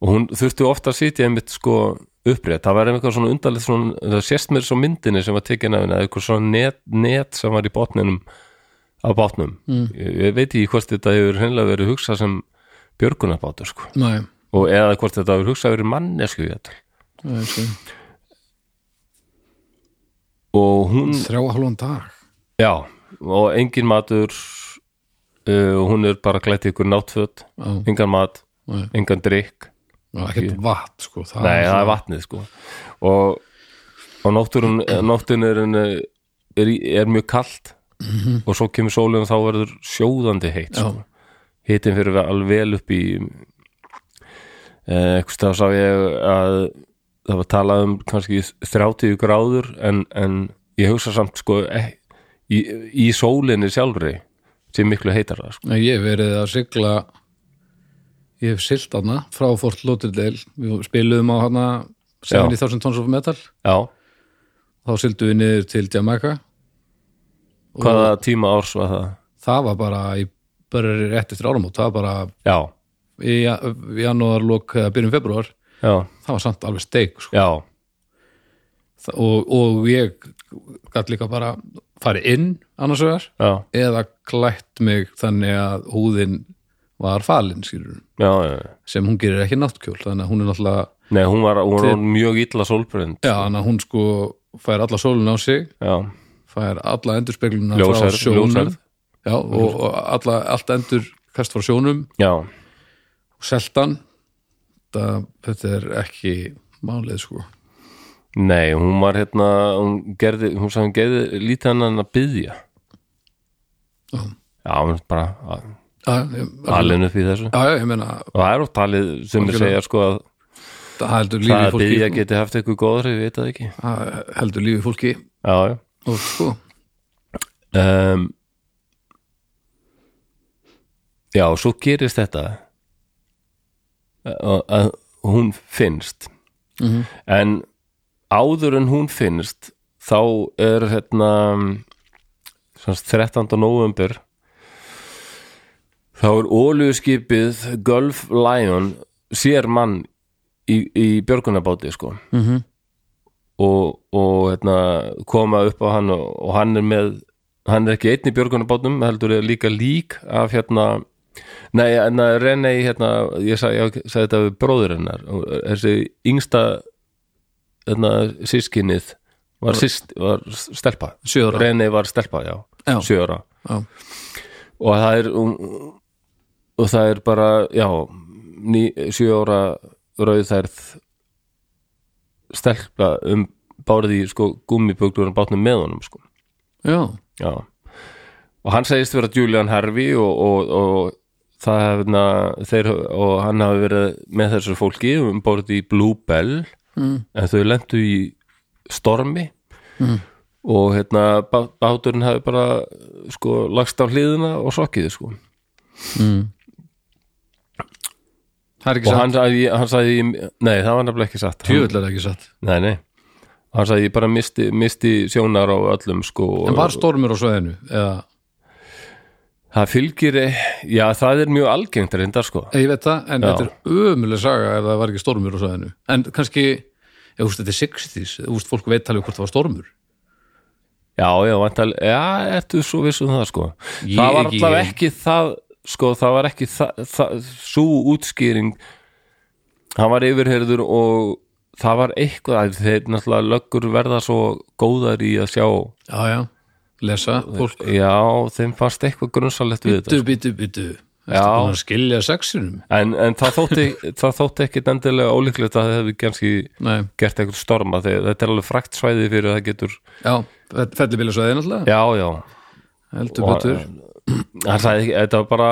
og hún þurfti ofta að sitja einmitt sko upprétt, það var einhver svona undarlegt svona, það sést mér svo myndinni sem var tekin af henni eða eitthvað svona net, net sem var í botninum á bátnum mm. ég, ég veit ekki hvort þetta hefur hreinlega verið hugsað sem björgunarbátur sko
næ
og eða hvort þetta hefur hugsað verið mannesku í þetta og hún,
þrjá og hálfan dag
já og engin matur uh, og hún er bara klætt í ykkur náttföt
já,
engan mat,
Nei.
engan drikk
já, ekkert vatn sko það
Nei,
er
það er vatnið sko og, og nótturinn nótturinn er, er, í- er mjög kalt og svo kemur sólinn og þá verður sjóðandi heitt sko. hittin fyrir við alveg vel upp í eh, eitthvað stað sá ég að það var talað um kannski 30 gráður en, en ég hugsa samt sko eh, í, í sólinni sjálfri sem miklu heitar það sko.
Nei, Ég hef verið að sigla ég hef silt hana frá Fort Lauderdale við spiluðum á hana 70.000 tons of metal
Já,
þá sildu við niður til Jamaica
hvaða tíma árs var það?
það var bara í bara rétt eftir áramót, það var bara
Já,
í ja- í janúar, lok, eða byrjum februar
já,
það var samt alveg steik sko.
já
Þa- og, og ég gætt líka bara farið inn annars vegar
Já,
eða klætt mig þannig að húðin var falin skýrur,
já, já, já.
sem hún gerir ekki í náttkjól þannig að hún er náttúrulega
Nei, hún var, hún var mjög illa sólbrönd
já, þannig að hún sko fær alla sólun á sig
Já,
fær alla endurspegluna
Ljósærð,
frá sjónum
ljósærð.
já, og, og alla, allt endur kast frá sjónum
já,
og seltan þetta, þetta er ekki málið sko
nei, hún var hérna hún gerði, hún sagði hún gerði lítið hann að byðja
Já.
Já, hún bara að-
að, að,
alin upp í þessu
já, já, ég meina
og það er oft talið sem við
Algjörlega.
segja sko að
það heldur
það
lífi
að
fólki
byðja geti haft eitthvað góður, ég veit það ekki
það heldur lífi fólki
Já, já
og sko,
um, Já, svo gerist þetta að, að hún finnst
Mhm.
en áður en hún finnst þá er hérna sem sagt, 13. november þá er óluskipið Gulf Lion sér mann í, í björgunabáti sko
Mhm.
og, og hérna, koma upp á hann og, og hann er með hann er ekki einn í björgunabátnum heldur er líka lík af hérna nei, en að René hérna, ég sagði, ég sagði þetta við bróður hennar og þessi yngsta hérna, sískinnið var, síst, var stelpa
Sjö ára.
René var stelpa, já,
Já.
sjö ára
já,
og það er um, og það er bara, já ný, sjö ára rauðærð stelpa um bárið í sko gummibuglurum bátnum með honum sko
já,
já. og hann segist vera Julian Harvey og, og, og það hefna, þeir, og hann hafi verið með þessu fólki um bórið í Bluebell mm. en þau lentu í stormi
Mm.
og hérna bá- báturinn hafi bara sko lagst á hliðina og sokkið sko
það er ekki
og
satt
hann sagði, hann sagði nei það var nefnilega ekki satt hann,
tjöfull er ekki satt
nei, nei. hann sagði ég bara misti, misti sjónar á öllum sko,
en var stormur á sveðinu eða,
það fylgir eh, já það er mjög algengt reyndar sko
Eh, ég veit það, en
Já.
þetta er ömuleg saga ef það var ekki stormur á sveðinu en kannski, ég veist þetta er 60s þú veist fólk veit alveg hvort það var stormur
já já vantal, já ertu svo viss um það sko
Ég-
það var allavega
ég-
ekki það sko það var ekki það, það svo útskýring hann var yfirherður og það var eitthvað þeir náttúrulega löggur verða svo góðar í að sjá
já, já, lesa,
sko.
fólk
já þeim fannst eitthvað grunnsalegt við þetta
byttu, byttu, byttu
Já.
eftir búin að skilja sexinum
En, en það þótti, það þótti ekkit endilega ólíklegt að það hefði ganski
nei,
gert eitthvað storma þegar þetta er alveg frækt svæði fyrir að það getur
já, fellibili sveðinu alltaf
já, já
heldur byttur
hann sagði ekki, þetta var bara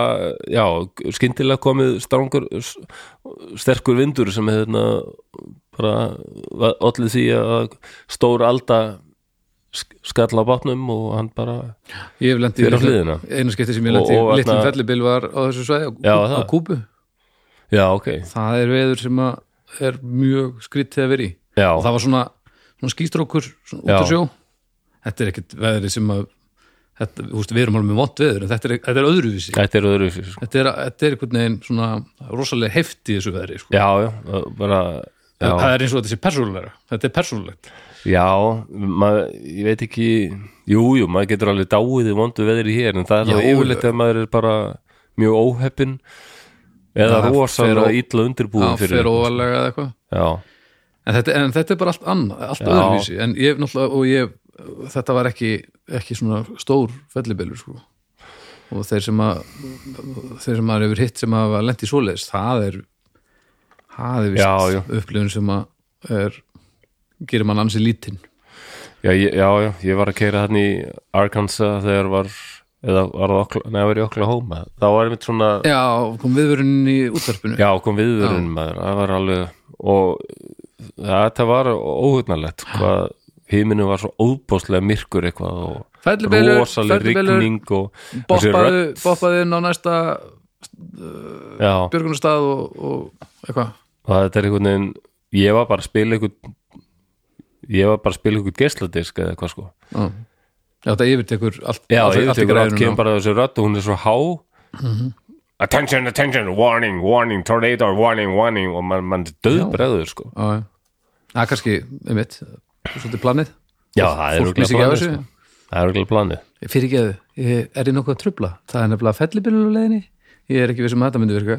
já, skyndilega komið strangur s- sterkur vindur sem hefði bara allir því að stór alda sk- skall á bátnum og hann bara
Ég hef lendið
Fyrir á hliðina.
einu skipti sem ég
Og-
lendið
og
í litlum
þarna-
fellibil var á þessu svæði á,
Já,
Kú- á
það.
Kúbu
já, ok,
það er veður sem að er mjög skrítið að vera í
já,
og það var svona, svona skýstrókur svona út
Já.
að sjó þetta er ekkit veðri sem að þetta, húst, við erum alveg með vond veður en þetta er, þetta er öðruvísi
þetta er öðru sko.
þetta er, þetta er einhvern veginn svona rosalega heift í þessu veðri sko.
já, já, bara já.
það er eins og þetta sé persónulega þetta er persónulegt
Já, maður, ég veit ekki Jú, jú, maður getur alveg dáið í vondu veðri hér, en það er þá
Já,
yfirleitt ef maður er bara mjög óheppin eða
Það
rosalega
fer ó-
illa undirbúin
það
fyrir sko.
fer óvalega eða eitthvað
Já,
En þetta, en þetta er bara allt annað, allt
Já.
öðruvísi en ég hef náttúrulega, og ég þetta var ekki, ekki svona stór fellibylur sko og þeir sem að þeir sem að hefur hitt sem að lent í svoleiðis það er það er vist
Já, já.
upplifun sem að er, gerir mann ansi lítinn
já, ég- já, já, ég var að keira hann í Arkansas þegar var eða var það okla, neða var í Oklahoma þá var einmitt svona,
Já, kom viðvörun í útvarpinu
já, kom viðurinn maður, það var alveg og ja, þetta var óhugnalegt hvað himinu var svo óbóðslega myrkur eitthvað og
Fellibylur,
rosaleg rigning og þessi
boppaðu,
rödd-
boppaðu inn á næsta
já,
björgunarstað og, og eitthvað
og þetta er einhvern veginn ég var bara að spila einhvern ég var bara að spila einhvern geisladisk eða eitthvað sko
Já, Já, þetta yfirtekur allt
já,
allt-
ég
allt í
tekur allt
græjunum
kemur
á.
bara þessi rödd og hún er svo há Mhm. attention, attention, warning, warning tornado, warning, warning og mann man döðbreður sko
Já, já. Það er kannski, um mitt, svolítið planið
já, það er
Fólk
örugglega
missi ekki af
planið
þessu.
sko. það er örgulega planið
Fyrirgeðu, ég- er ég nokkuð að trubla? Það er nefnilega fellibylluleginni Ég er ekki viss um að þetta myndi virka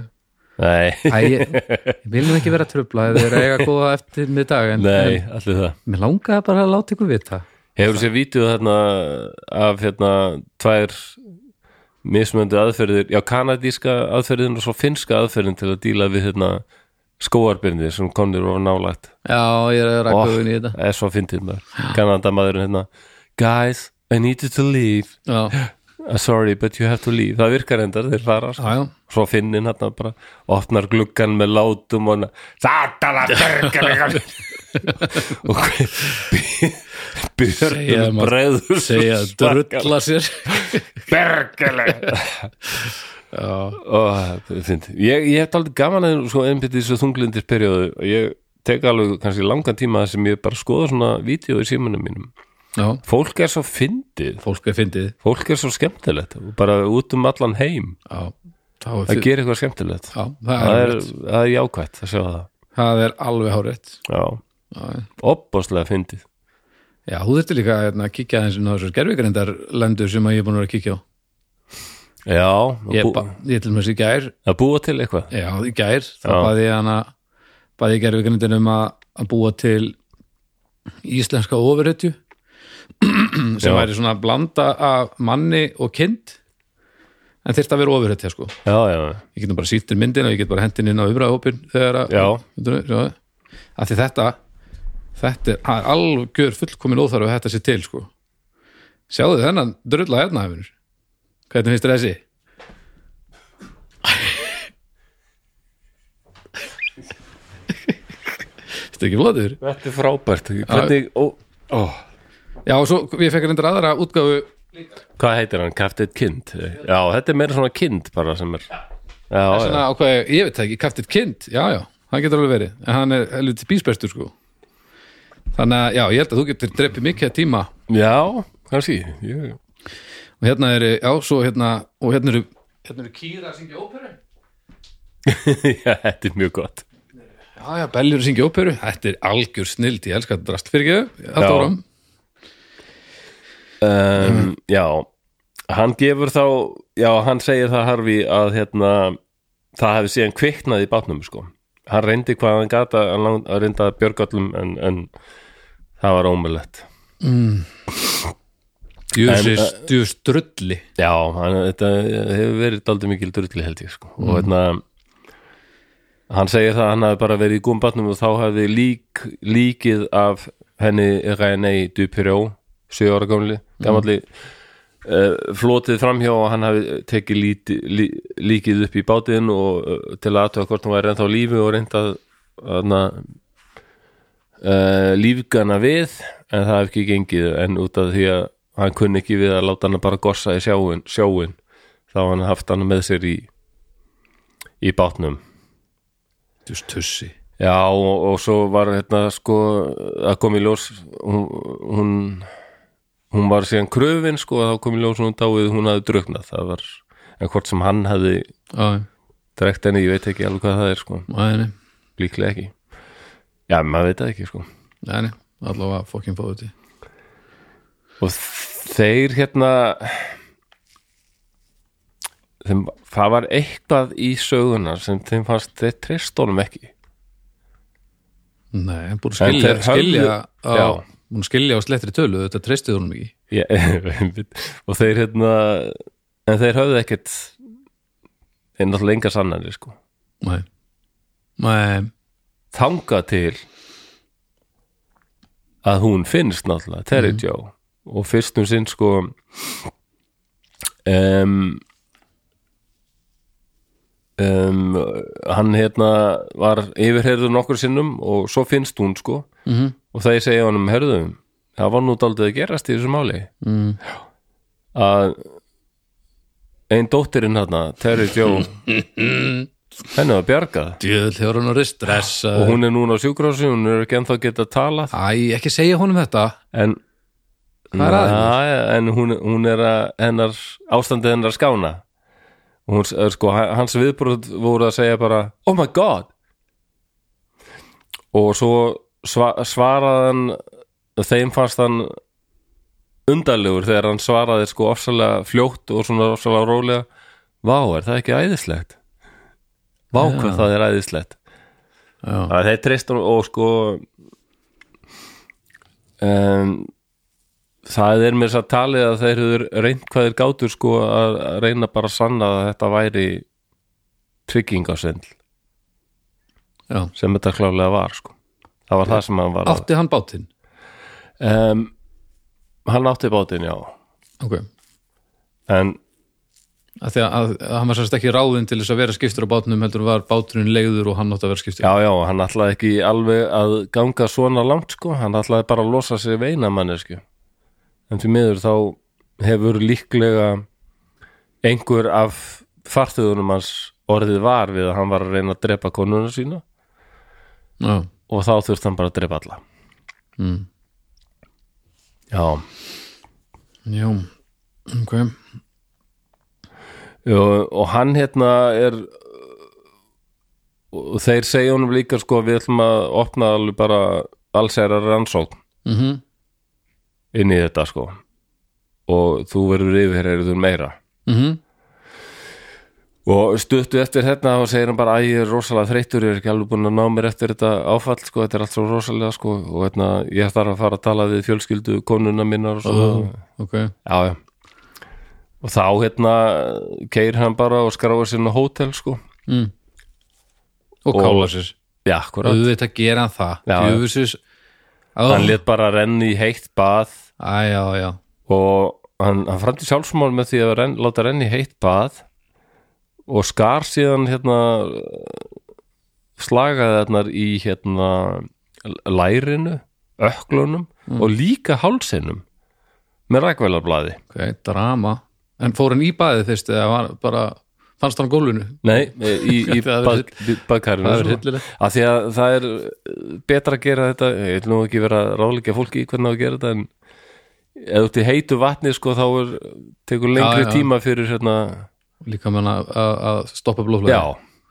nei,
Æ, ég, ég vil nú ekki vera að trubla ef þið er að eiga góða eftir með dag en
nei, allir það
mér langaði bara að láta ykkur vita
Hefur sér vítið þarna af hérna tvær mismöndu aðferðir, já kanadíska aðferðin og svo finnska aðferðin til að díla við hérna skóarbyrnir sem komnir og nálægt
Já, ég er
Ó,
að rakka augun í þetta
Það er svo fyndið maður Kanadamaðurinn hérna Guys, I need you to leave
Já,
uh, Sorry, but you have to leave Það virkar endar, þeir fara sko.
já, já
Svo finnin hérna bara Opnar gluggan með látum og Satana bergar Og
Segja
Björnum
maður-
breður
segja drulla sér
bergileg og fint ég, ég hef aldrei gaman að sko, einbytti þessu þunglindir periodu og ég tek alveg kannski langan tíma þar sem ég bara skoða svona vídeo í símanum mínum
já,
fólk er svo fyndið
fólk er fyndið
fólk er svo skemmtilegt og bara út um allan heim
já, þá er
að
fyndið
gera eitthvað skemmtilegt
já, það,
það
er,
er, það er jákvætt að sjá það
það er alveg hárétt
já,
já,
opbáslega fyndið
já, þú þurfti líka hérna, að kíkja aðeins inn á þessu gerfigrindar lendur sem að ég er búin að vera að kíkja á
já, að
ég,
bú,
ba, ég til mér sér gær
að búa til eitthvað
já, í gær, þá
Já.
baði ég hana baði ég gerfigrindin um að, að búa til íslenska ofurhetju sem
Já.
væri svona að blanda af manni og kind en þyrfti að vera ofurhetja sko
já, já,
ég get nú bara sýttir myndin og ég get bara hendin inn á umræðahópin þegar að,
Já.
Myndirðu, sjá, að því þetta þetta er, það er algjör fullkomin óþarf að þetta sé til sko sjáðu þennan drulla hérna hefur hvernig finnst þér þessi? Þetta er ekki flottur
þetta er frábært hvernig, ó, ó,
Já, og svo ég fekk reyndar aðra útgáfu
hvað heitir hann, kaftið kind já, þetta er meira svona kind bara sem er já, já,
svona ákveði, ég veit það ekki, kaftið kind já, já, hann getur alveg verið en hann er helviti bísbæstur sko þannig að, já, ég held að þú getur dreipið mikið af tíma
Já, kannski ég...
og hérna eru, já, svo hérna og hérna eru, hérna eru kýra að syngja óperu
Já, þetta er mjög gott
já, já, belljur að syngja óperu, þetta er algjör snild ég elska þetta drast fyrir ekki,
Já.
alltaf áram
um, Já, hann gefur þá Já, hann segir það harfi að hérna, það hefði síðan kviknað í bátnum sko. hann reyndi hvað hann gata hann lang- að reynda að björgöllum en, en það var ómulett eh,
djú strulli
Já, hann, þetta hefur verið daldið mikil drulli held ég sko. og hérna hann segir það að hann hafi bara verið í gúmbatnum og þá hefði lík, líkið af henni René Dupiró, 7 ára gamli gamalli uh, flotið framhjá og hann hafi tekið líti, lí, líkið upp í bátinn og uh, til að aðtöða hvort hún væri ennþá á lífi og reynda að uh, lífgana við en það hef ekki gengið en út af því að hann kunni ekki við að láta hann bara gossa í sjáin, sjáin þá hann haft hann með sér í í bátnum
djú tussi
já og, og svo var hérna sko að kom í ljós hún, hún, hún var síðan kröfin sko að þá kom í ljós hún dáið hún hafði druknað það var en hvort sem hann hafði
já,
drekt henni ég veit ekki alveg hvað það er sko
næni,
líklega ekki já maður veit það ekki sko
næni allavega fokkin fóðu til
og þeir hérna þeim, það var eitthvað í sögunar sem þeim fannst þeir treystónum ekki
nei, búin að skilja,
þeir höfðu-
skilja á,
Já.
búin að skilja á slettri tölu þetta treystið honum ekki
Ég, einmitt. og þeir hérna en þeir höfðu ekkert þeir náttúrulega enga sannari sko
Nei. Nei.
þanga til að hún finnst náttúrulega, Terry mm. Joe og fyrst um sinn sko um, um hann hérna var yfirherður nokkur sinnum og svo finnst hún sko
Mhm.
og það ég segja honum herðum, það var nú daldið að gerast í þessu máli
Mm.
að einn dóttirinn hérna, Terry Jó henni var bjargað
Djöðl hefur hún orðið stressa
og hún er núna á sjúkrási, hún er ekki ennþá geta talað
Æ, ekki segja honum þetta
en
Hvað er að
Næ, en hún, hún er að hennar, ástandið hennar skána og hún, s- er, sko, h- hans viðbröð voru að segja bara oh my god og svo sva, svaraði hann þeim fannst hann undarlegur þegar hann svaraði sko ofsalega fljótt og svona ofsalega rólega vá, er það ekki æðislegt vá, hvað það er æðislegt
Já.
að þeir treystur og sko um, það er mér satt talið að þeir hefur reynd hvað þeir gátur sko að að reyna bara að sanna að þetta væri tryggingasendl
Já.
sem þetta klálega var sko það var það sem hann var
Átti hann bátinn
um, hann átti bátinn já
okay.
en
að því að, að, að hann var sérst ekki ráðinn til þess að vera skiptur á bátnum heldur var báturinn leiður og hann átti að vera skiptur
já já, hann ætlaði ekki alveg að ganga svona langt sko hann ætlaði bara að losa sig veina mannesku en því miður þá hefur líklega einhver af farþöðunum hans orðið var við að hann var að reyna að drepa konuna sína
Já.
og þá þurfti hann bara að drepa alla
Mm.
já
Já. ok
og, og hann hérna er og þeir segja honum líka sko við ætlum að opna alveg bara allsæra rannsókn
mm -hmm.
inn í þetta sko og þú verður yfir heyrður meira
Mhm.
og stuttu eftir hérna og segir hann bara að ég er rosalega þreyttur, ég er ekki alveg búin að ná mér eftir þetta áfall sko, þetta er allt svo rosalega sko og hérna ég þarf að fara að tala við fjölskyldu konuna minnar og svo
ok
já, já og þá hérna keir hann bara og skráir sinna hótel sko
mm. og kála sér
já, akkurat,
auðvitað gera hann það
Já, já.
Djöfusins
hann
Æ,
let bara renni í heitt bað
já, já
og hann, hann framti sjálfsmál með því að renn, láta renni í heitt bað og skar síðan hérna slagaði þarnar í hérna l- lærinu, öklunum
Mm.
og líka hálsinum með rækvælarblaði
ok, drama en fór hann í baðið fyrst eða var bara fannst hann á gólfinu
Nei, í, í
Það er
bað- baðkarinu
það er
sko.
hryllilegt.
Af því að það er uh, betra að gera þetta ég vil nú ekki vera að ráðleika fólki í hvernig á að gera þetta en ef þú ert í heitu vatni sko þá er, tekur lengri
Já, já.
tíma fyrir hérna,
líka með hann að- að að stoppa blóflæði
já,
já,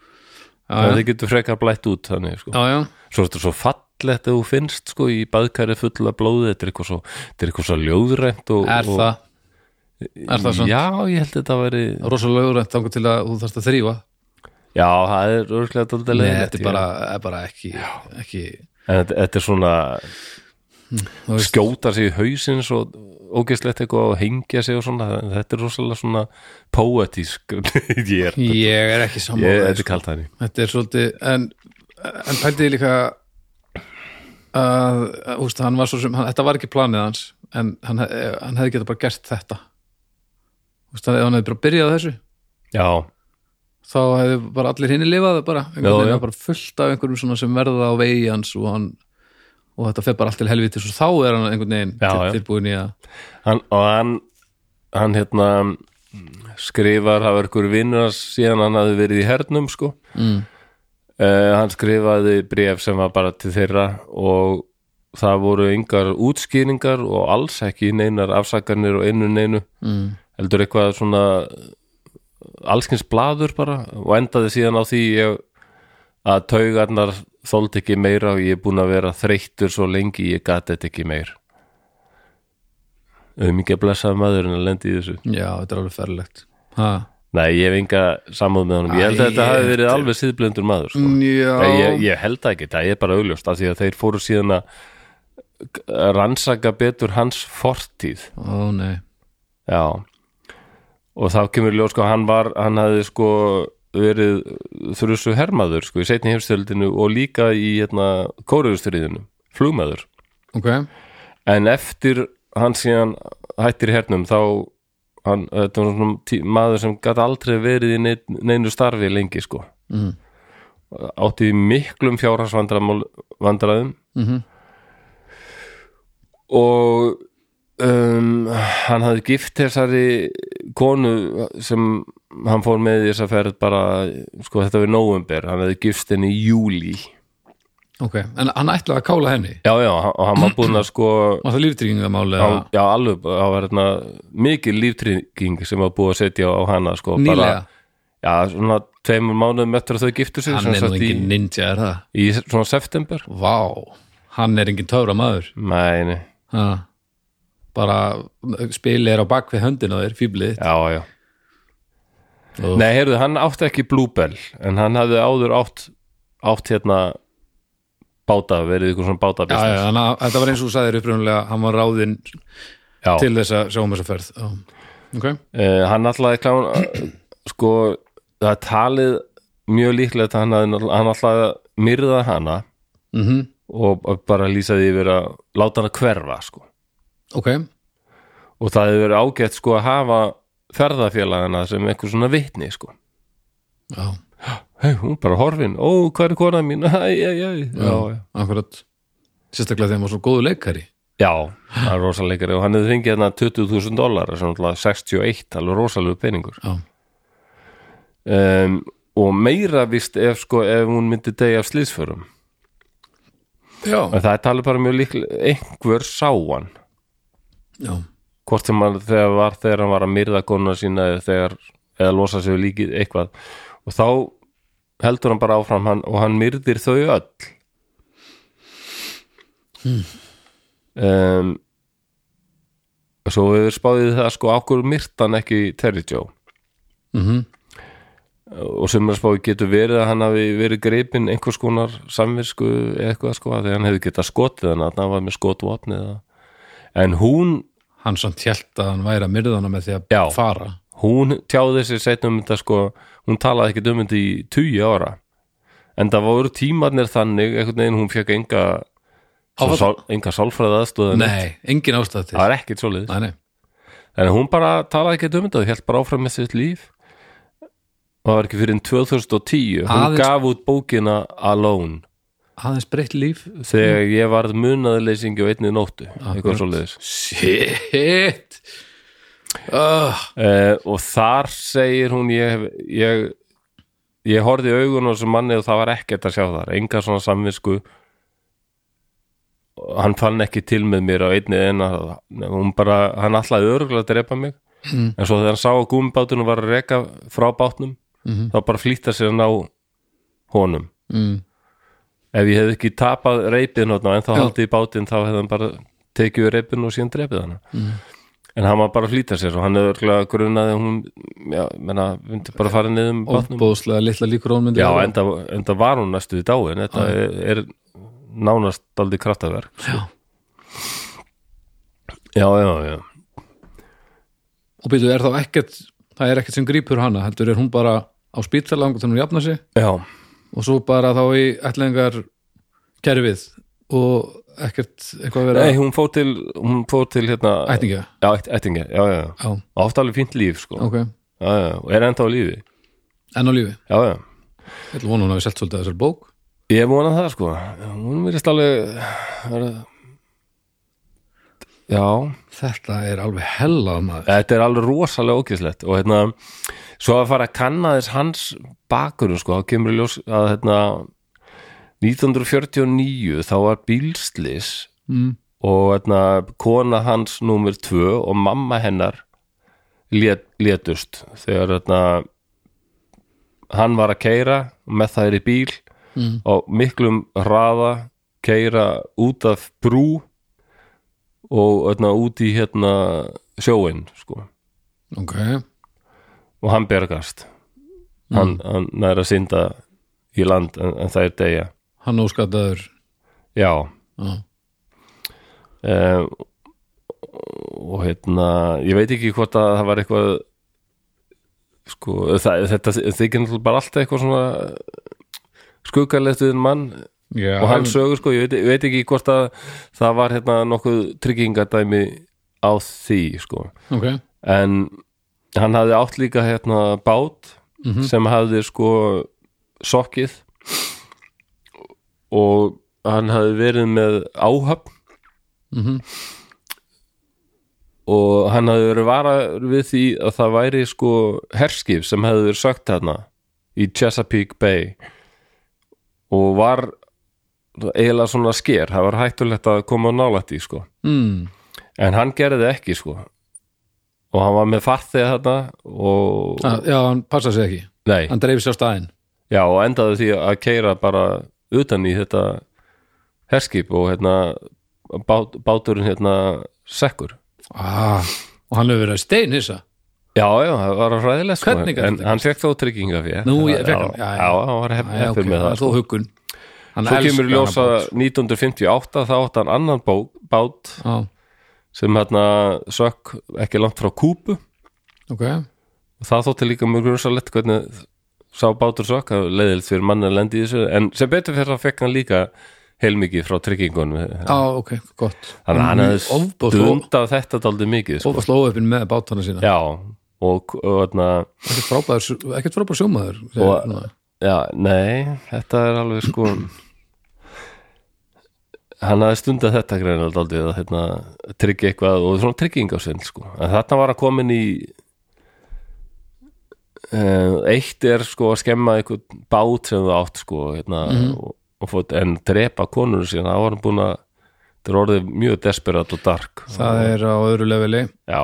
það
já.
þið getur frekar blætt út þannig sko.
já, já.
Svo er þetta svo fallegt að þú finnst sko í baðkari fulla blóði, þetta er eitthvað svo þetta er eitthvað svo ljóðrænt og,
er
og,
það er það svona?
Já, ég held að þetta væri
rosalega úrænt þangur til að þú þarfst að þrýfa
Já, það er örglega daldið
Nei, þetta er bara, er bara ekki, ekki
En þetta- þetta er svona
þú veist,
skjóta sig í hausinn svo ógeðslegt eitthvað og hengja sig og svona, þetta er rosalega svona poetísk ég er,
ég er ekki
ég,
sammála
þetta er kalt þannig
þetta er svolítið en, en pældiði líka að, að úst, hann var svo sem hann, þetta var ekki planið hans en hann, hef- hann hefði getað bara gert þetta úst, ef hann hefði bara byrjað á þessu
já,
þá hefði bara allir hinni lifað bara, einhvern
Já,
veginn
já.
var bara fullt af einhverjum svona sem verða á vegi hans og, hann, og þetta fer bara allt til helvitis og þá er hann einhvern veginn
Já, já.
til, tilbúin í að
hann, og hann hann hérna mm, skrifar, það var ykkur vinnur hans síðan hann hafði verið í hernum sko
mm,
uh, hann skrifaði bréf sem var bara til þeirra og það voru yngar útskýringar og alls ekki neinar afsakarnir og einu neinu
mm,
heldur eitthvað svona allskins blaður bara og endaði síðan á því ég, að taugarnar þóld ekki meira og ég er búin að vera þreyttur svo lengi ég gat þetta ekki meir um ekki að blessaði maðurinn að lendi í þessu
já, þetta er alveg ferlegt ha.
nei, ég hef enga samúð með honum ég held að
Æ,
þetta hafi verið
þetta-
alveg síðblindur maður sko.
Já,
Nei, ég, ég held það ekki, það er bara augljóst af því að þeir fóru síðan að að rannsaka betur hans fortíð
Ó, nei
Já og þá kemur í ljós sko hann var, hann hafði sko verið þrjusu hermaður sko í seinni heimstöldinu og líka í hérna kóruðustriðinu, flugmaður
Ok,
en eftir hann síðan hættir í hernum þá hann, þetta var svona tí, maður sem gat aldrei verið í neinn- neinu starfi lengi sko
mm.
átti í miklum fjárhagsvandræðum
Mhm.
og um, hann hafði gift þessari konu sem hann fór með í þessa ferð bara, sko þetta við nóvember hann hafði gift henni í júli
ok, en hann ætlaði að kála henni
já, já, hann- og hann var búinn að sko
var það líftryggingamáli
já, já alveg, það var hérna mikil líftrygging sem var búið að setja á hana sko,
nýlega,
bara, já, svona tveimur mánuðum eftir að þau giftu sig
hann
sem
er nú
sagt í,
engin ninja er það,
í svona september
vá hann er engin töfra maður
nei, nei,
ha. bara spili er á bak við höndina á þér, fýblið
já, já
Ó.
nei, heyrðu, hann átti ekki Bluebell en hann hafði áður átt átt hérna báta, verið ykkur svona báta
já, já, hann, þetta var eins og þú sagðir upprunnulega hann var ráðinn
já.
til þess að sjá um þessa ferð já. ok,
Uh, hann alltaf klán, sko, það er talið mjög líklegt að hann, hafði- hann alltaf myrða hana
mhm
og bara lýsa því yfir að láta hann að hverfa sko.
ok,
og það hefur verið ágætt sko, að hafa ferðafélagana sem einhver svona vitni sko.
já,
hey, hún bara horfin, ó hvað er kona mín Æ, æ, æ. Já, já.
akkurat sérstaklega þegar maður svo góðu leikari
já, það er rosalegari og hann hefði fengið hérna 20.000 dólar 61, alveg rosalegu peningur
já,
um, og meira vist ef, sko, ef hún myndi degja af slýsförum
já,
En það er talið bara mjög líklega einhver sáan
já.
hvort sem hann þegar var þegar hann var að myrða konuna sína eða þegar eða losa sig við líkið eitthvað og þá heldur hann bara áfram hann, og hann myrðir þau öll hmm. um, Svo hefur spáðið það sko ákvör myrtan ekki Terry Joe
Mm
og sem er spáði getur verið að hann hafi verið greipin einhvers konar samvirsku eða eitthvað sko að því hann hefði getað skotið hann að hann var með skotvopni eða. en hún,
hann samt hjælt að hann væri að myrða hana með því að
Já.
fara
hún tjáði sér seinna um þetta sko, hún talaði ekkert um þetta í tugi ára en það voru tímarnir þannig einhvern veginn hún fekk enga svo
Áfall?
sál, enga sálfræða aðstöðan
nei, engin ástæð til
það er ekkert svoleiðis
nei, nei.
en hún bara talaði ekkert um þetta og held bara áfram með sitt líf og það var ekki fyrir 2010 hún
Aðeins-
gaf út bókina Alone
aðeins breytt líf
þegar
Mm.
ég varð munaðleysingi á einni nóttu eitthvað svoleiðis
shit uh,
uh, og þar segir hún ég, hef- ég, ég horfði í augun á þessu manni og það var ekkert að sjá þar enga svona samvisku Og hann fann ekki til með mér á einni en hún bara, hann allaði örgulega að drepa mig en svo þegar hann sá að gúmbátunum var að reka frá bátnum þá bara flýta sér að ná honum
mm.
ef ég hef ekki tapað reypið nótna en þá
Já.
haldið í bátinn þá hefði hann bara tekið við reypinu og síðan drepið hann en hann var bara að flýta sér og hann hefur örgulega grunaði að hún já, menna, myndi bara fara niður um bátnum
ofbóðslega litla líkur á hún myndi
já,
vera.
enda, enda var hún næstu í dáin þetta er, er nánast aldrei kraftaverk
já.
já, já, já
og býtu, er þá ekkert það er ekkert sem grípur hana, heldur er hún bara á spýttalang og þannig hún jafna sig
já,
og svo bara þá í ætlingar kerfið og ekkert eitthvað að vera
nei, hún fór til hún fór til hérna
ættingja
já, ætt- ættingja, já, já, já
já,
oft alveg fínt líf, sko
ok,
já, já, og er enda á lífi
enn á lífi
já, já
ég ætla að vona hún hafi selt svolítið af þessar bók
Ég vona það sko Hún verðist alveg er, Já
þetta er alveg hellað maður
Þetta er alveg rosalega ókýrslegt og hérna, svo að fara að kanna þess hans bakurum sko, þá kemur í ljós að hérna 1949 þá var bílslis
mm.
og hérna kona hans númer tvö og mamma hennar lét, létust þegar hérna hann var að keira með þær í bíl
Mm.
á miklum hraða keira út af brú og hérna út í hérna sjóin sko
ok,
og hann bergast hann, hann nær að synda í land en, en það er degja
hann óskataður
já
já,
Eh, og hérna ég veit ekki hvort að það var eitthvað sko það, þetta þykir náttúrulega bara alltaf eitthvað svona skuggalegt við en mann
já
og hann sögur sko, ég veit, ég veit ekki hvort að það var hérna nokkuð tryggingadæmi á því sko
ok,
en hann hafði átt líka hérna bát sem hafði sko sokkið og hann hafði verið með áhöfn
mm
og hann hafði verið varað við því að það væri sko herskip sem hefði verið sökt þarna í Chesapeake Bay og var eiginlega svona sker, það var hættulegt að koma nálætt í sko
mm.
en hann gerði það ekki sko og hann var með farþið þarna og
Ah, já, hann passa sig ekki
nei,
hann dreif sér á staðinn
já og endaði því að keira bara utan í þetta herskip og hérna bát, báturinn hérna sekkur
ah, og hann hefur verið að stein hissa
Já, já, það var ræðilegt sko
Hvernig gat
En
þetta
hann fekk þó trygginga fyrir
Nú, ég- fékk hann,
já,
já, já.
já, hann var hepp- heppur með það
þó huggun hann
Svo kemur í
elskar
ljós
hana
að
bara.
1958 þá átti hann annan bó, bát
Já,
sem hérna sökk ekki langt frá Kúbu og
ok,
það þótti líka mjög rosalett hvernig sá bátur sökk að leiðilegt fyrir mann að lendi í þessu en sem betur fyrir það fekk hann líka heilmikið frá tryggingunum
á, ok, gott
þannig að hann hefði
Ofboðslega-
stundað þetta daldið mikið sko.
og slóðu uppin með bátana sína
Já, og, og hérna
ekkert frábær, sj- ekkert frábær sjómaður
Og-
segir núna.
Já, nei, þetta er alveg sko hann hafði stundað þetta greinald aldrei að hérna, tryggja eitthvað og svona trygging á sinn sko. en þarna var að komin í uh, eitt er sko að skemma eitthvað bát sem þú átt sko hérna, og, og fótt, en drepa konur sína, það var hann búin að þetta er orðið mjög desperat og dark
það er á öðru leveli
Já,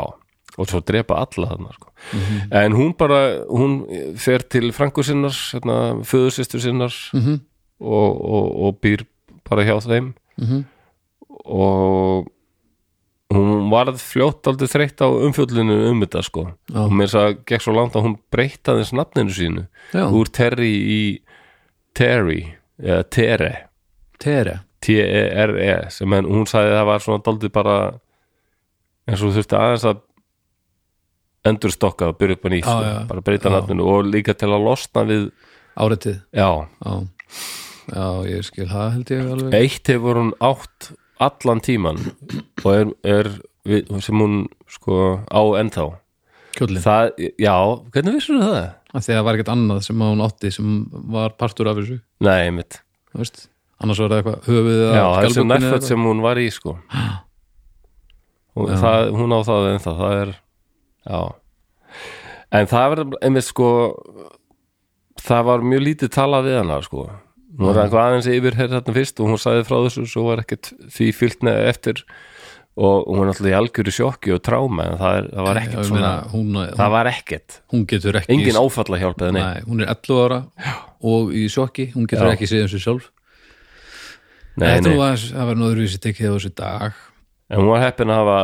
og svo drepa alla þarna sko.
Mhm.
en hún bara hún fer til frangu sinnar hérna, föðusistur sinnar
Mhm.
og, og, og býr bara hjá þeim
Mhm.
og hún varð fljótt aldrei þreytt á umfjöllinu um þetta sko
Já.
og mér sagði, gekk svo langt að hún breytaði nafninu sínu
já,
úr Terry í Terry eða Tere
tere
T-E-R-E E sem henn, hún sagði að það var svona daldið bara eins og þú þurfti aðeins að endurstokka og byrja upp að nýtt
Já,
sko,
já.
bara breyta
Já.
nafninu og líka til að losna við
áreitið
já,
já, já, ég skil það held ég alveg
eitt hefur hún átt allan tíman og er, er við, sem hún sko á ennþá
kjóllin,
það, já, hvernig vissur þú það?
af því að það var ekkert annað sem hún átti sem var partur af þessu
Nei, mitt,
þú veist, annars var það eitthvað höfuðið
já, þessi nærfætt sem hún var í sko og það, hún á það ennþá það er, já en það verður einmitt sko það var mjög lítið talað við hana sko hún var eitthvað aðeins yfir hér þarna fyrst og hún sagði frá þessu svo var ekkert því fyllt neða eftir og hún var náttúrulega í algjöru sjokki og tráma en það, er, það var ekkert
ég
svona
meina, hún, eh,
það var ekkert,
hún getur ekki
engin áfalla hjálpaði nei,
nei, hún er 11 ára og í sjokki, hún getur
Já.
ekki séð um sig sjálf
nei,
þetta
nei.
var, það var náðurvísi tekið á þessu dag
en hún var heppin að hafa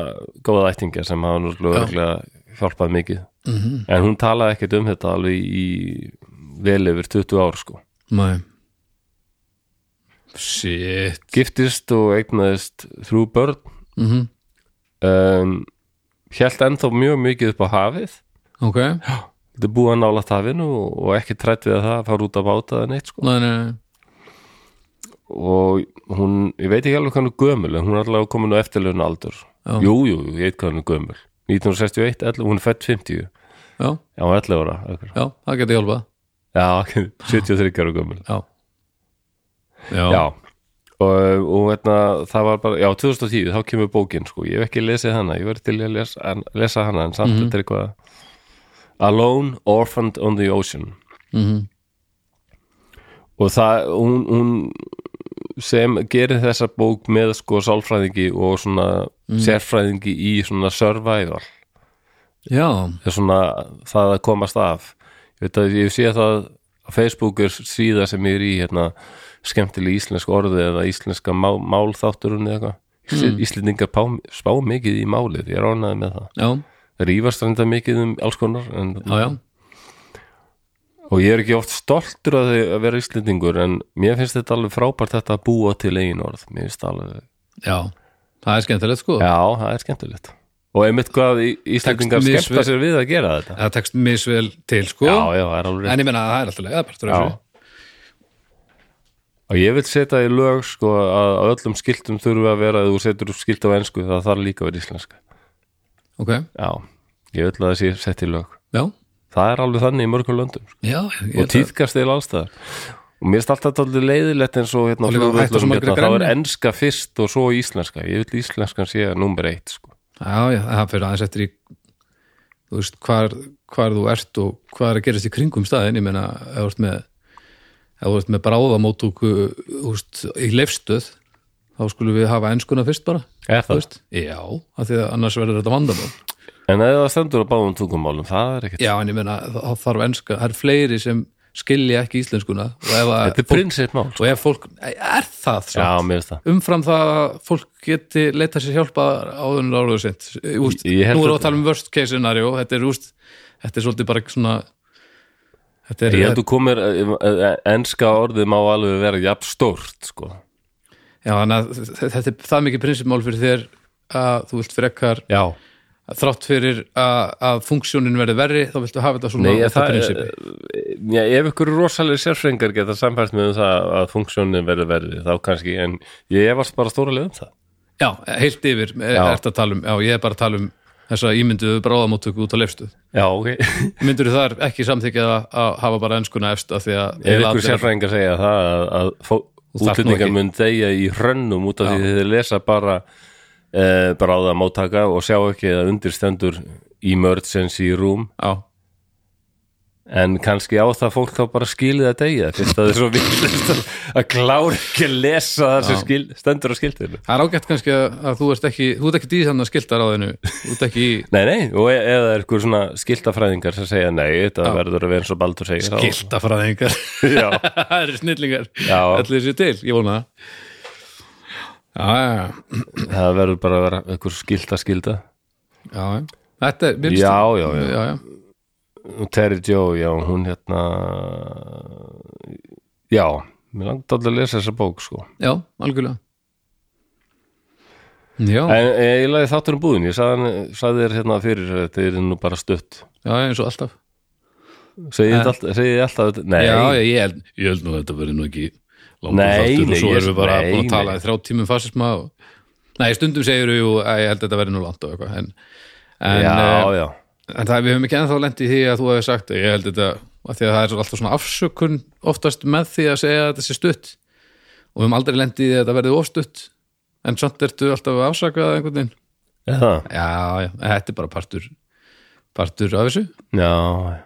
góða ættinga sem hafa náttúrulega örugglega hjálpað mikið
Mhm.
-hmm. en hún talaði ekkert um þetta alveg í vel yfir 20 ár sko
Nei Shit
giftist og eignaðist þrjú börn
mm
um, held ennþá mjög mikið upp á hafið
Ok,
þetta búið að nála hafinu og, og ekki trætt við að það fara út að báta það neitt sko
nei, nei, nei
og hún, ég veit ekki alveg hvað hann er gömul en hún er allavega komin á eftirlaun aldur
Já.
jú, jú, ég veit hvað hann er gömul 1961, 11, hún er fætt 50
Já,
já, hún er 11 ára akkur.
já, það geti hjálpað
já, 73 ára gömul
Já Já,
já og, og hérna, það var bara, já 2010 þá kemur bókin sko, ég hef ekki lesið hana ég verið til í að lesa, en, lesa hana en
Mhm.
samt þetta er eitthvað Alone, Orphaned on the Ocean
Mhm.
og það, hún, hún sem gerir þessa bók með sko sálfræðingi og svona
Mhm.
sérfræðingi í svona survival
já,
það er svona það að komast af ég veit að ég sé það á Facebook er síða sem ég er í hérna, skemmtileg íslensk orði eða íslenska má, málþátturinn eða eitthvað mm. Íslendingar pá, spá mikið í málið ég ránaði með það
já,
það rífast reynda mikið um alls konar en,
já, já.
og ég er ekki oft stoltur að, að vera Íslendingur en mér finnst þetta alveg frábært þetta að búa til eigin orð mér finnst það alveg,
já. Það er skemmtilegt sko
já það er skemmtilegt og einmitt hvað í- Íslendingar
Tekst
skemmta sér við að gera þetta
Það tekst misvel til sko
já, já, það er alveg rétt.
En ég meina að það er alltaf leið, það er partur af
Já.
þessu
Og ég vil setja í lög sko að á öllum skiltum þurfi að vera að þú setur upp skilt á ensku það þarf líka að vera íslenska.
Ok,
Já, ég vil að það sé sett í lög.
já,
Það er alveg þannig í mörgum löndum sko.
já ég
og
held að-
týðkast eða allstæðar. Og mér er alltaf allir leiðilegt eins og hérna á
Og líka hætta svo
flugvöllum
margir að
hérna, þá er
grenja.
enska fyrst og svo íslenska. Ég vil íslenskan sé nummer eitt sko.
já, já, það fyrir aðeins eftir í þú veist, hvar, hvar þú ert og hvað er að gerast í kringum staðin ég meina, ef þú ert með ef þú ert með bráðamóttúku þú veist, í leifstöð þá skulum við hafa enskuna fyrst bara
Er
þú
það?
veist, já, af því að annars verður þetta vandamál
En ef það stendur á báðum tungumálum, það er ekkert
já, en ég meina, þá þarf enska það er fleiri sem skilja ekki íslenskuna og ef, að-
Þetta er prinsipmál
og ef fólk, er það
Já,
samt?
mér veist það
umfram það að fólk geti leita sér hjálpa áður en áður sent úst,
Ég- ég held
nú erum við
að-
að tala um worst case scenario þetta er, úst, þetta er svolítið bara svona þetta er,
Ég held þú komir, eh, enska orðið má alveg vera jafn stórt sko.
já, þannig að þ- þetta er það mikið prinsipmál fyrir þér að þú vilt frekar
Já
þrátt fyrir að, að funksjónin verði verri þá viltu hafa þetta svona
Nei,
þetta
það,
prinsipi.
já, ef ykkur rosalega sérfrengar geta samfært með um það að funksjónin verður verði þá kannski, en ég efast bara stóralega um það
já, heilt yfir já.
Já.
að tala um, já, ég er bara að tala um þess að ímynduðu bráðamóttöku út á leifstuð
Já, ok,
myndur þar ekki samþykja að hafa bara enskuna efst af því
ef
að eiginlega
ykkur
allir-
sérfrengar segja það að, að fó-
þarft nú
útlendingar
ekki.
mun degja í hrönnum út af því þeir lesa bara e, bráða móttaka og sjá ekki að undirstendur emergency room
já,
en kannski á það fólk þá bara skilið að degja fyrst að það er svo villist að að klára ekki að lesa það sem skil, stendur á skildinu
Það er ágætt kannski að, að þú ert ekki þú ert ekki í þannig að skilta ráðinu þú ert ekki í
Nei, nei, og e eða er ykkur svona skiltafræðingar sem segja nei, þetta verður að vera eins og Baldur segir þá-
skiltafræðingar
Já,
það eru snillingar
Já.
allir sér til, ég vona það já, já,
það verður bara að vera ykkur skilta skilda
já, já. þetta er mér finnst
Já,
það-
já, já.
já, já.
og Terry Joe, já, hún hérna Já, mér langt allir að lesa þessa bók sko
já algjörlega já,
En eh, ég lagði þáttur um búðin, ég sagði, hann- sagði þér hérna fyrir að þetta er nú bara stutt
já, eins og alltaf
Segið þið alltaf, segið þið alltaf þetta- Nei,
já, já, ég held, ég held nú að þetta verið nú ekki langur
Nei,
þáttur
nei,
og svo
ég-
erum við bara
nei,
búin að
nei.
tala í þrjá tímum fasisma og... nei, stundum segir við að ég held að þetta verið nú langt og eitthvað en, en eh,
já, já.
En það, við höfum ekki ennþá lent í því að þú hefði sagt ég held þetta, að því að það er alltaf svona afsökun oftast með því að segja að þetta sé stutt og við höfum aldrei lent í því að þetta verði ofstutt en samt ertu alltaf að afsaka það einhvern veginn
Er það?
Já, já, en þetta er bara partur partur af þessu,
Já,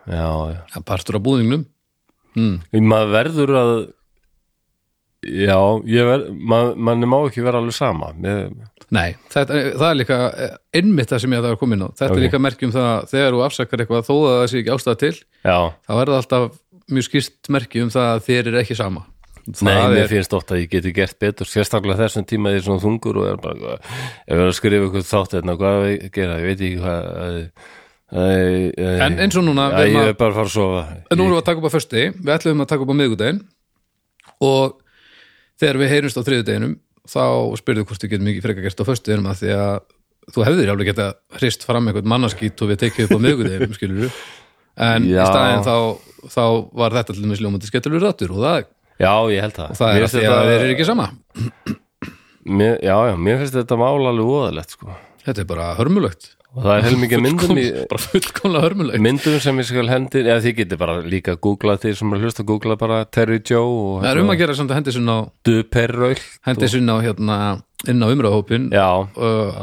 já, já
ja, partur af búðingnum
maður verður að já, ég verð maður, manni má ekki vera alveg sama ég,
Nei, þetta, eh, það er líka innmitt það sem ég að það er komin á, þetta
Ok.
er líka merkjum það að þegar þú afsakar eitthvað þó að það sé ekki ástæða til
já,
þá er það alltaf mjög skýrt merkjum það að þér er ekki sama Það
nei, mér
er-
finnst oft að ég geti gert betur sérstaklega þessum tíma því svona þungur og er bara, ef ég er að skrifa eitthvað þátt hérna, hvað á ég að gera, ég veit ekki hvað
En
en
eins og núna,
já,
við erum
ég
að-
er bara að fara að sofa
En nú erum við að taka upp á föstudegi, við ætlum að taka upp á miðgudegin og þegar við heyrumst á þriðudeginum þá spyrðu hvort við getum ekki frekar gert á föstudeginum að því að þú hefðir alveg geta hrist fram einhvern mannaskýt og við tekið upp á miðgudeginum, skilur við en
Já.
í staðin þá, þá var þetta allir með sljómandi skettilur rættur og það,
já, ég held það,
það er
Mér
að
finnst
því að þeir
þetta-
eru ekki sama
mér, já, já, mér finnst þetta mál alveg óðalegt sko.
Þetta er bara hörmulegt
og það er helmikið myndum í,
bara fullkomlega hörmulegt
myndum sem ég skal hendi eða þið getið bara líka að googla þeir sem er að hlusta að googla bara Terry Joe og
Það er um að gera samt að hendi sinna á,
Duperraul
hendi sinna á hérna, inn á umræðahópin uh,
Já,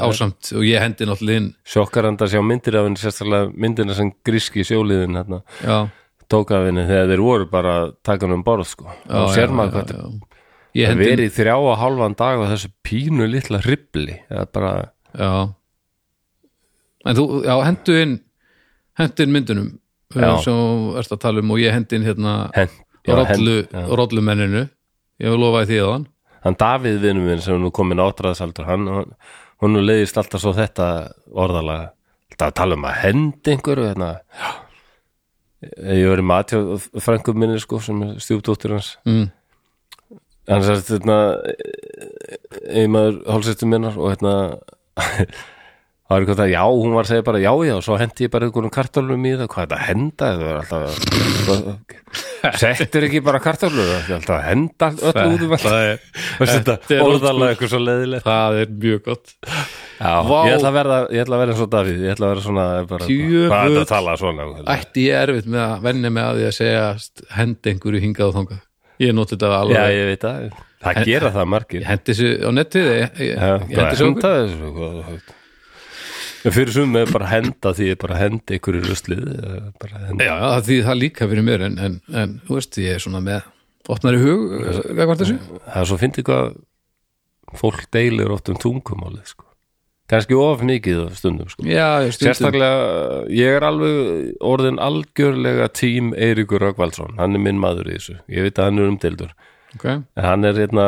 ásamt og ég hendi náttúrulega inn
sjokkarandi að sjá myndir af henni sérstaklega myndina sem gríski sjóliðin hérna,
já
tók af henni þegar þeir voru bara að taka hann um borð sko.
Já,
og
já,
sér
já,
maður hvað
já.
þetta
ég
er
hendi,
verið í þrjá og hálfan dag og þessu pínu litla hribli það er bara,
já en þú, já, hendu inn hendu inn myndunum
Já.
já. sem þú ert að tala um og ég hendi inn hérna
hen, já, hen,
rollu, rollumenninu ég lofaði því að hann
hann Davíð vinnum minn sem er nú komin áttræðsaldur hann, hann, hann leiðist alltaf svo þetta orðalega, alltaf að tala um að hend einhverju hérna. ég var í matjá frænkum minni sko, sem er stjúpdóttir hans
mm.
hann sagðist hérna e, einmaður hálsistum minnar og hérna það var eitthvað það, já, hún var að segja bara já, já og svo hendi ég bara einhvernum kartálum í það hvað er þetta að henda, það er alltaf settur ekki bara kartálum það er alltaf að henda öll út um allt
það er,
Veist
Þetta er
þetta orðalega eitthvað svo leiðilegt
það er mjög gott
já, ég ætla að verða, ég ætla að verða eins og Davíð ég ætla að vera svona bara,
Djöfull.
hvað er þetta að tala svona
ætti ég erfitt með að venni með að því að segja hendi einhverju hingað og þangað ég noti þetta alveg
já, ég veit að, það gera það margir
ég hendi þessu á netið ég, ég, ég
Já,
hendi
bara
þessu
henda
okkur
þessu hvað- En fyrir sum er bara að henda því er bara að henda ykkur í ruslið eh, bara að henda.
Já, já, því það líka fyrir mér en, en, en þú veist, ég er svona með opnari hug, hvað var þessu?
það er svo fyndið hvað fólk deilir oft um tungumálið sko. kannski of mikið á stundum sko.
Já, ég stundum
sérstaklega, ég er alveg orðin algjörlega tím Eiríkur Röggvaldsson, hann er minn maður í þessu ég veit að hann er umdeildur
Ok.
En hann er hérna,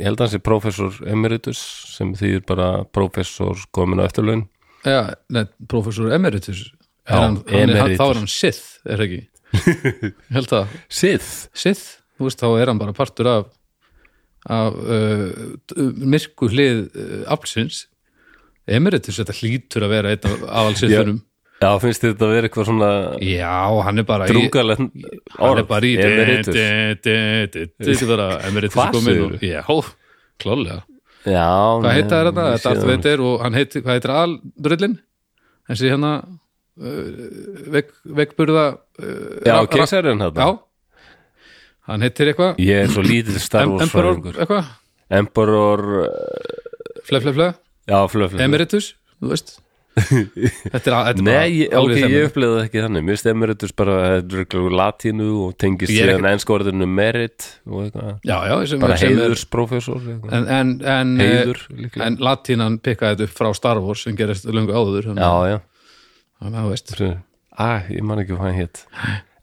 ég held að hans er professor emeritus sem þýðir bara professor komin á eftirlaun
Já, nei, professor emeritus er
Já,
hann, hann,
emeritus.
emeritus. Þá er hann Sith, er það ekki? Ég held að
Sith
Sith, þú veist, þá er hann bara partur af af uh, myrku hlið uh, aflsins Emeritus, þetta hlýtur að vera einn af aðalsithunum
Já, finnst þér þetta að vera eitthvað svona
Já, hann er bara í-
drungalegt
hann er bara í
emeritus
Þetta er bara Emeritus
Hvað
er kominn og-
segirðu?
Já, klálega
Já,
Hvað heita er þetta?
þetta?
Darth Vader og hann heitir, hvað heitir aldrullin? Þessi hérna uh, vek, veikburða uh,
Já,
ra- ra-
keisarinn þetta
Já, hann heitir eitthvað
Ég er svo lítill Star Wars
Emperor
fræðingur
eitthvað,
Emperor, eh,
fle, fle, fle
já, flöflöf
Emeritus, þú veist Þetta er, þetta er bara
Nei, ég- ok,
alveg
ég
þemmen.
upplega það ekki þannig Mér finnst emeritus bara þetta er örugglega úr latínu og tengist
Ég er
síðan enska orðinu merit og eitthvað
Já, já, sem,
Bara
sem er
heiðursprófessor eitthvað.
En, en, en, eh,
Heiður, líklega.
en latínan pikkaði þetta upp frá Star Wars sem gerist löngu áður þannig
Já, já
að þú veist,
Æ, ég man ekki hvað hann hétt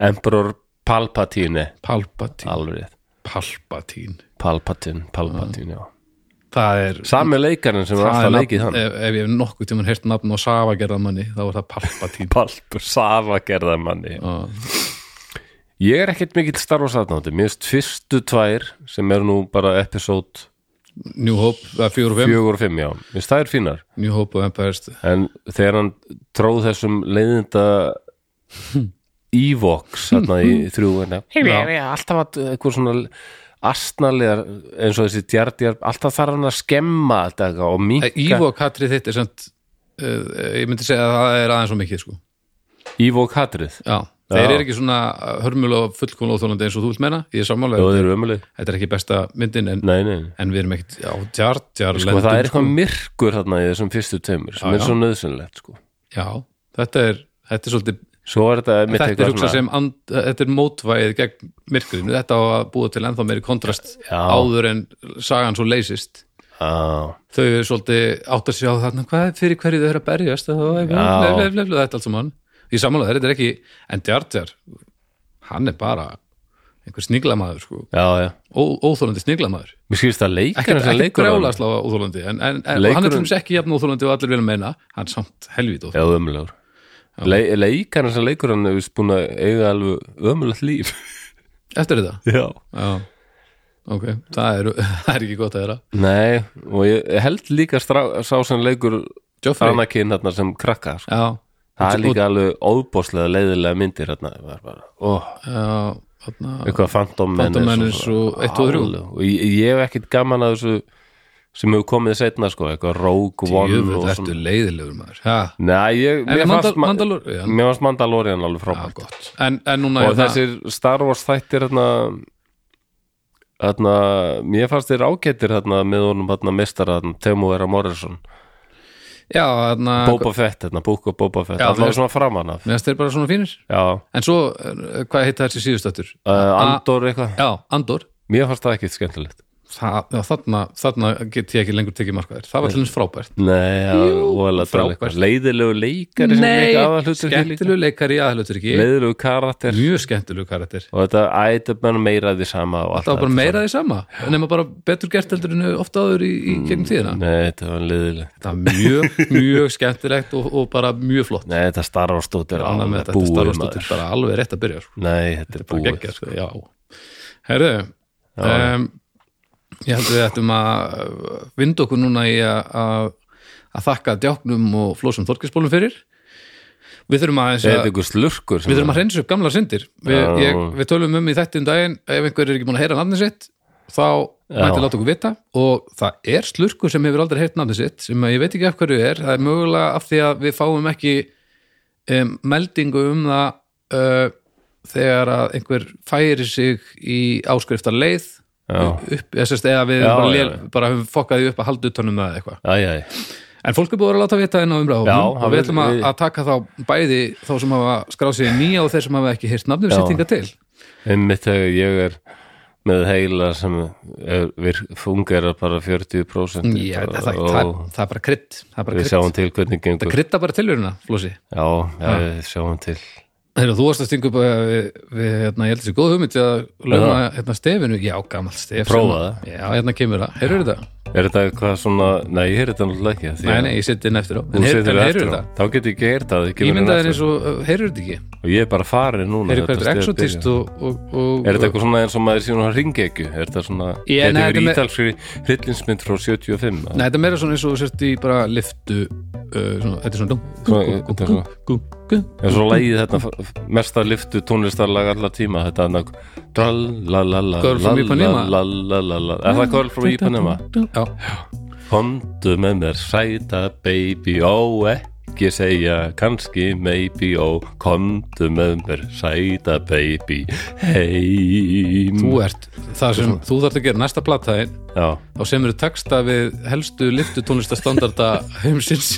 Emperor Palpatine
Palpatine,
Alveg, rétt.
Palpatine
Palpatine, Palpatine, já
Það er
Sami leikarinn sem var
Það er
alltaf
nafn-
leikið hann
ef, ef ég hef nokkuð tímann heyrt nafn á Savagerðamanni þá var það Palpatine
Palpur Safa gerða manni
Já,
Ég er ekkert mikill Star Wars aðnátti Mér finnst fyrstu tvær sem eru nú bara episode
New Hope, eða 4 og 5
4 og 5, já Mér finnst það er fínar
New Hope og Empire's
En þegar hann tróð þessum leiðinda Evox þarna í þrjú hérna. Já, alltaf að eitthvað svona astnalegar eins og þessi djardjar alltaf þarf hann að skemma þetta eitthvað og minka
Ívo Katrið þitt er samt uh, ég myndi segja að það er aðeins og mikið sko.
Evox hatrið
Já, þeir eru ekki svona hörmulega og fullkomlega óþólandi eins og þú vilt meina ég er
og
sammálega,
þeir eru ömuleg
þetta er ekki besta myndin en,
nei, nei, nei.
en við erum ekkit á tjart, tjart
Sko, það er eitthvað myrkur þarna í þessum fyrstu tömur sem
Já,
er
já.
svo nöðsynlegt sko.
Já, þetta er, þetta er svolítið
svo er þetta einmitt
þetta er
eitthvað
hugsað
svona-
sem and, þetta er mótvæðið gegn myrkurinu þetta á að búa til ennþá meiri kontrast
Já.
áður en sagan svo leysist
Já,
þau eru svolítið átt að sjá þarna hvað er fyrir hverju þau eru að berjast og blef,
Já.
blef, blef, blef, þetta allt saman í samanlega þetta er ekki, en Djartjar hann er bara einhver sniglamaður sko,
já, já
Ó, óþólandi sniglamaður
Mér skilst það leikar
ekkert
sem
ekki
leikur hann.
brjálasláfa óþólandi en, en, en og hann er til
Leikurinn-
dæmis ekki jafn óþólandi og allir vilja meina hann er samt helvít óþólandi
Já, ömulegur Le Leikarinn sem leikur hann hefur búin að eiga alveg ömulegt líf
eftir þetta
Já
Já. ok, það er, það er ekki gott að þeirra
Nei, og ég ég held líka strá, sá sem leikur
Joffrey
Anakin hérna sem krakka sko.
Já,
Það er líka alveg óbóðslega leiðilega myndir hérna Það var bara, ó,
já, þarna,
eitthvað Phantom Menace
Phantom Menace og eitt og þrjú.
Alveg. Og ég, ég hef ekkit gaman að þessu sem hefur komið setna sko, eitthvað Rogue One
jöfull
og
ertu leiðilegur maður ha,
Nei, ég,
En
mér,
Mandal-
fannst, Mandal
Mandalorian
mér fannst Mandalorian alveg
Já, Ah,
frábært
gott En, en núna hérna,
og þessir Star Wars þættir hérna hérna, mér fannst þeir ágættir hérna með honum hérna mestara hérna, Temu Era Morrison,
Já, þarna
Boba Fett hérna, Búka Boba Fett,
Ah, Já,
allavega
mér-
svona framan af
Mér finnst þeir bara svona fínir
já,
En svo, eh, hvað heita þessi síðustættur?
uh,
ah.
Andor eitthvað,
Já, Andor
mér fannst það ekki skemmtilegt
Það, já, þarna, þarna get ég ekki lengur tekið markaðir Það var til hans frábært
nei, já, óalega það er
frábært.
eitthvað leiðilegu leikari sem
Nei,
leika aðalhlutverkið líka.
skemmtilegu leikari í aðhlutur ekki
leiðilegu karakter
Mjög skemmtilegu karakter
og þetta, æ, þetta er bara meira af því sama og allt
Það var bara
þetta
meira því sama Nefna bara betur gert heldur en ofta áður í, í gegnum tíðina
sama. Mm, nei, þetta var leiðilegt
Þetta var mjög, mjög skemmtilegt og, og bara mjög flott
nei, þetta Star Wars dóttir
Ég er ánægð með þetta, þetta starfast þetta er bara alveg rétt að byrja sko.
nei, þetta er
bara
búið
geggjað, sko. já, herðu um, ég held við ættum að uh, vinda okkur núna í að- að að þakka djáknum og flósum þorkisbólum fyrir við þurfum aðeins
Er
að
þetta ykkur slurkur? sem
við þurfum að hreinsa upp gamlar syndir við,
Já.
ég, við tölum um í þetta um daginn ef einhver er ekki búin að heyra nafnið sitt þá mætti láta okkur vita og það er slurkur sem hefur aldrei heyrt nafnið sitt sem að ég veit ekki af hverju er, það er mögulega af því að við fáum ekki um, meldingu um það uh, þegar að einhver færi sig í áskriftar leið
Já.
upp, eða, sérst, eða við
Já,
bara,
já,
lél, bara höfum fokkað því upp að halda utanum það eða eitthvað
Æ, æ,
En fólk er búið að láta vita inn á umræðu
Já,
og
það
við
vil-
ætlum að,
við-
að taka þá bæði þá sem hafa skráð sér nýja og þeir sem hafa ekki heyrt nafnum
Já.
settinga til
einmitt þegar ég er með heila sem er, virk- fungerar bara 40%
Já, það, það,
Mm. og
það, það er bara krydd Það er
við
bara krydd,
sjáum til hvernig
það
gengur
krydda bara tilurina, Flósi
já, já, við sjáum til
Þegar þú varst að stinga upp að við, við hérna, ég held þessi góð hugmynd að lögma hérna, stefinu, já, gamalt stef
Prófa
það Já, hérna kemur það, heyrðu þetta?
er þetta eitthvað svona, nei, ég er þetta náttúrulega ekki af því
Nei,
að
nei, ég seti inn eftir á
þú
En heyr-
setur
en
það
heyrðu
eftir á.
þetta?
þá get ég ekki heyrt það, ég kemur inn
Ímyndaðir
aftur.
eins og, uh, heyrðu þetta ekki?
og ég er bara farin núna
Heyrðu hvað
þetta
þetta er
stef byrjar.
exotist og, og, og
Er þetta eitthvað svona eins og maður sé svona ringekju? Er þetta svona,
Ég-
þetta
nei,
er
þetta með-
ítalskri hryllinsmynd frá 75? eða?
Nei, þetta er meira svona eins og þú sért í bara liftu uh, svona, Þetta er svona
Svona, þetta er svona-
Þetta
En svo lægið þetta f- f- mesta liftu tónlistarlag allar tíma þetta hann að Trallalala
Girl from Ipanema.
lalalala. Er það Girl from Ipanema?
Já,
Komdu með mér sæta baby ó ekki segja kannski maybe ó Komdu með mér sæta baby heim
þú ert Það sem þú þarft að gera næsta plata þín
Já,
þá semur þú texta við helstu liftu tónlistastandarda heimsins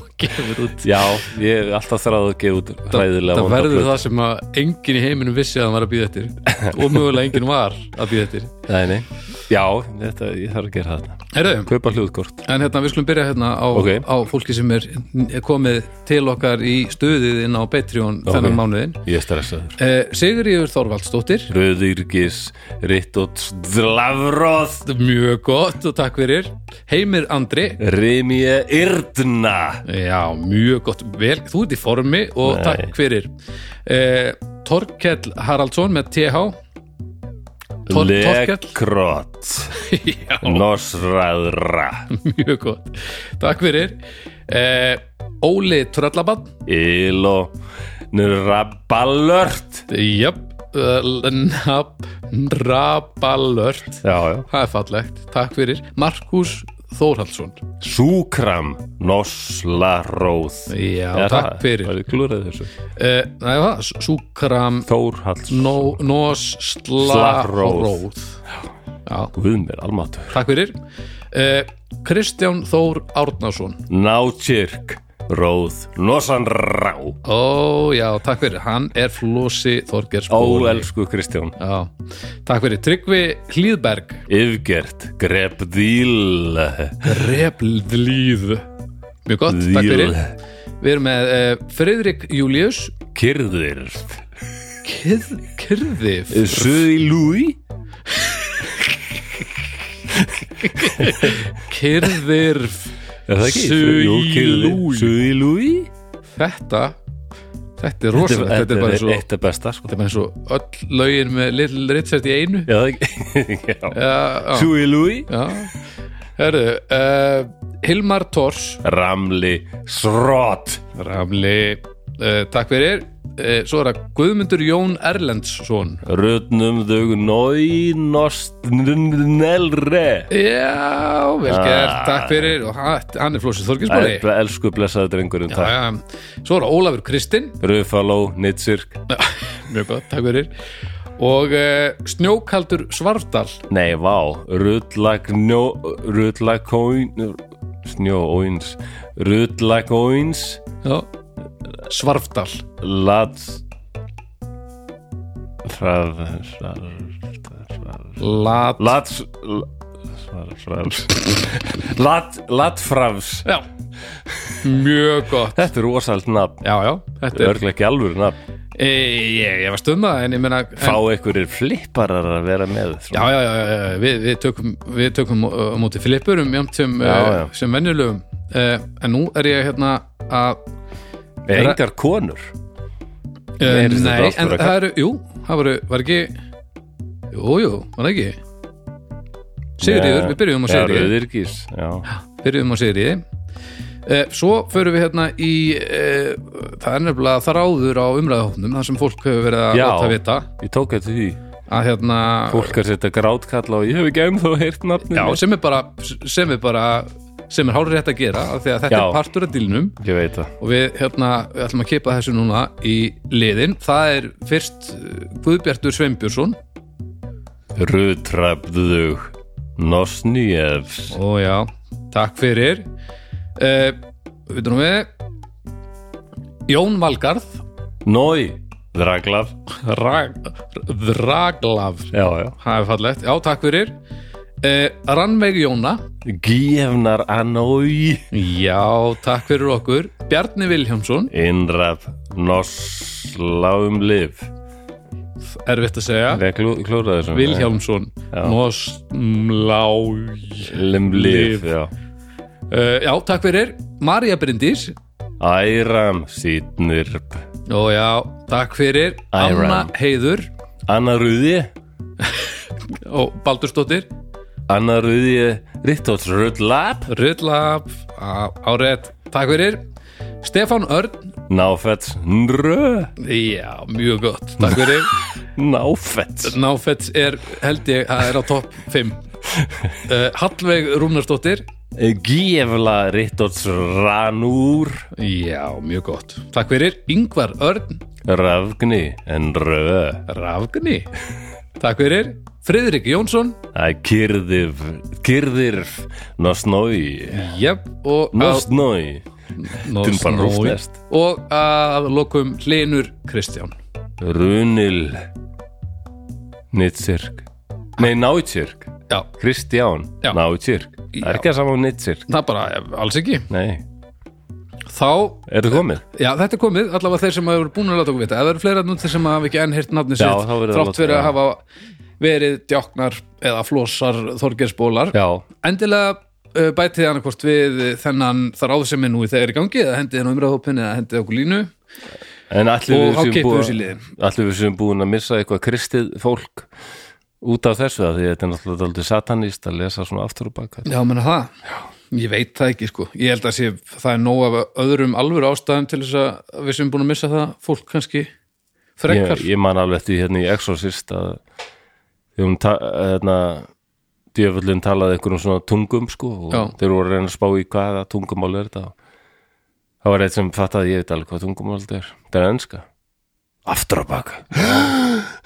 og gefur út
Já ég hef alltaf þráð að gefa út hræðilega
það
vonda
verður
plötu.
það sem að enginn í heiminum vissi að hann var að býða eftir og mögulega enginn var að býða eftir
Nei, nei. Já, þetta, ég þarf að gera þetta
Herðu,
Kaupa hljóðkort
en hérna við skulum byrja hérna á,
Ok.
á fólki sem er er komið til okkar í stuðið inn á Patreon þennan mánuðin
Ég er stressaður
eh, Sigriður Þorvaldsdóttir
Röðirgis Rittots Dlavroð
mjög gott og takk fyrir Heimir Andri
Rimje Irdna
Já, mjög gott, vel, þú ert í formi og
Nei.
takk fyrir eh, Torkell Haraldsson með TH Tor- Torkell.
Lekrot
Já,
Nosraðra
mjög gott Takk fyrir eh, Óli Tröllabann
Ilo Nrabalört
Jöp, Nabalört
Já, já
Það er fallegt, takk fyrir Markus Þórhaldsson
Súkram Noslaróð
Já,
Er
takk
það-
fyrir
Það er klúrað þessu
eh, Það er það, Súkram
Þórhalds
Nó- Nós
Slaróð.
Slaróð Já,
Guðmir, almatur
Takk fyrir eh, Kristján Þór Árnason
Nátjirk Róð Nosanrá
Ó já, takk fyrir, hann er Flósi Þorgers
Ó, elsku Kristján
Já, takk fyrir, Tryggvi Hlýðberg
Yfgert Grepdíl
Replíð Mjög gott, takk
Dýl.
fyrir Við erum með eh, Friðrik Július
Kyrðirð
Kyrð, Kyrðif
Söðilúi
Kyrðirf
Er það ekki?
Suðilúi.
Söðilúi
Þetta, þetta er rosalegt Þetta er bara eins og,
Eitt af besta sko
þetta er bara eins og öll lögin með Little Richard í einu
Já, það ekki
Já, já,
Söðilúi
já. Herðu, eh, Hilmar Tors
Ramli Srot
Ramli uh, Takk fyrir uh, Svo er það Guðmundur Jón Erlendsson
Rötnum þau Nóinost Nelre
Já, vel gert,
Ah.
takk fyrir og hann hann er Flósið Þorginsbóli
Æ, Elsku blessaði drengurinn
Já,
takk.
já. Svo er það Ólafur Kristinn
Rufaló Nitsirk
Mjög gott, takk fyrir og uh, Snjókaldur Svarfdal
Nei, vá Rutlagnó Rutlakóin Snjóóins Rutlakóins
Já. Svarfdal
Lats Hrað Hrað
Lat
Lats Hrað Lat Latfrafs
Já. Mjög gott
Þetta er rosalt nafn
Já, já, þetta er
Örglega ekki alvöru nafn
e, ég, ég var stöðum það en ég meina en-
Fá einhverjir flipparar að vera með svona.
Já, já, já, já, já, við, við tökum, við tökum uh, á móti Filippurum jæmt sem,
Já,
uh,
já.
sem venjulegum uh, en nú er ég hérna að
Er engar konur
uh,
Nei, er þetta
nei,
allt
en
bara
það eru, jú, það voru, var ekki jú, jú, var það ekki Sigriður, við byrjum á
Já,
Sigriði
Rauðirgis Já,
byrjum á Sigriði uh, svo förum við hérna í uh, það er nefnilega þráður á umræðahóknum þar sem fólk hefur verið að
Já.
láta vita
ég tók eftir því
að hérna
Fólk er setja grátkalla og ég hef ekki ennþá heyrt nafninu
Já, sem er bara sem er bara sem er hálf rétt að gera af því að þetta
Já.
er partur af dílnum
Ég veit það
og við hérna við ætlum að kipa þessu núna í liðin það er fyrst uh, Guðbjartur Sveinbjörnsson
Rutrabðug Nosnýjefs
og já, takk fyrir uh, Við nú við Jón Valgarð
Nói, Draglav
Rag, Draglav
Já, já
Það er fallegt, já takk fyrir uh, Rannveig Jóna
Gífnar Anói
Já, takk fyrir okkur Bjarni Vilhjámsson,
Innraf Noslaum Liv
erfitt að segja
Við klú, klúraði þessum
Vilhjálmsson Nostmláj
Lim Liv,
Liv.
já
uh, Já, takk fyrir Marja Bryndís
Æram Sýtnirp
Ó já, takk fyrir
Iram.
Anna Heiður
Anna Rúði
og Baldursdóttir
Anna Rúði Rittóts Rullab
Rullab, árétt Takk fyrir Stefán Örn
Náfett Nrö
Já, mjög gott, takk fyrir
Náfett
Náfett er, held ég, það er á topp 5 uh, Hallveig Rúnarsdóttir
Gífla Rittóts Ranúr
Já, mjög gott Takk fyrir Yngvar Örn
Rafgni Nrö
Rafgni Takk fyrir Friðrik Jónsson
Kyrðirf Kyrðirf Nosnói
Jöp, og að-
Nosnói Þetta er bara
Snói.
rústnest.
og að lokum Hlinur Kristján
Runil Nitsirk Nei, Nátsirk
já,
Kristján,
Já.
Nátsirk Það er
Já.
ekki að sama um Nitsirk
það bara eh, alls ekki
Nei,
þá,
er það komið?
já þetta er komið allavega þeir sem hafa búin að láta okkur vita ef það eru fleira núntir sem hafa ekki enn hirt nafni
Já,
sitt
þá verður það
þrátt
láta-
fyrir að
já.
hafa verið djáknar eða flósar þorgersbólar
Já,
endilega uh, bætið hann hvort við þennan þar sem er nú í þegar í gangi eða hendið hann umræðhópin eða hendið okkur línu
en allir
Og
við
þá
séum
kippum við þessu í
búin
liðin.
Allir við séum búin að missa eitthvað kristið fólk út af þessu að því að þetta er náttúrulega aldrei satanist að lesa svona aftur og baka
Já, menna það Ég veit það ekki sko Ég held að sé, það er nóg af öðrum alvöru ástæðum til þess að við sem búin að missa það fólk kannski frekar
ég, ég man alveg eftir því hérna í Exorcist að þegar hún ta hérna, djöfullin talaði einhverjum svona tungum sko og
Já.
þeir voru að reyna að spá í hvaða tungumál er þetta það var eitt sem fattaði ég veit alveg hvað tungumál þetta er þetta er ennska aftur á baka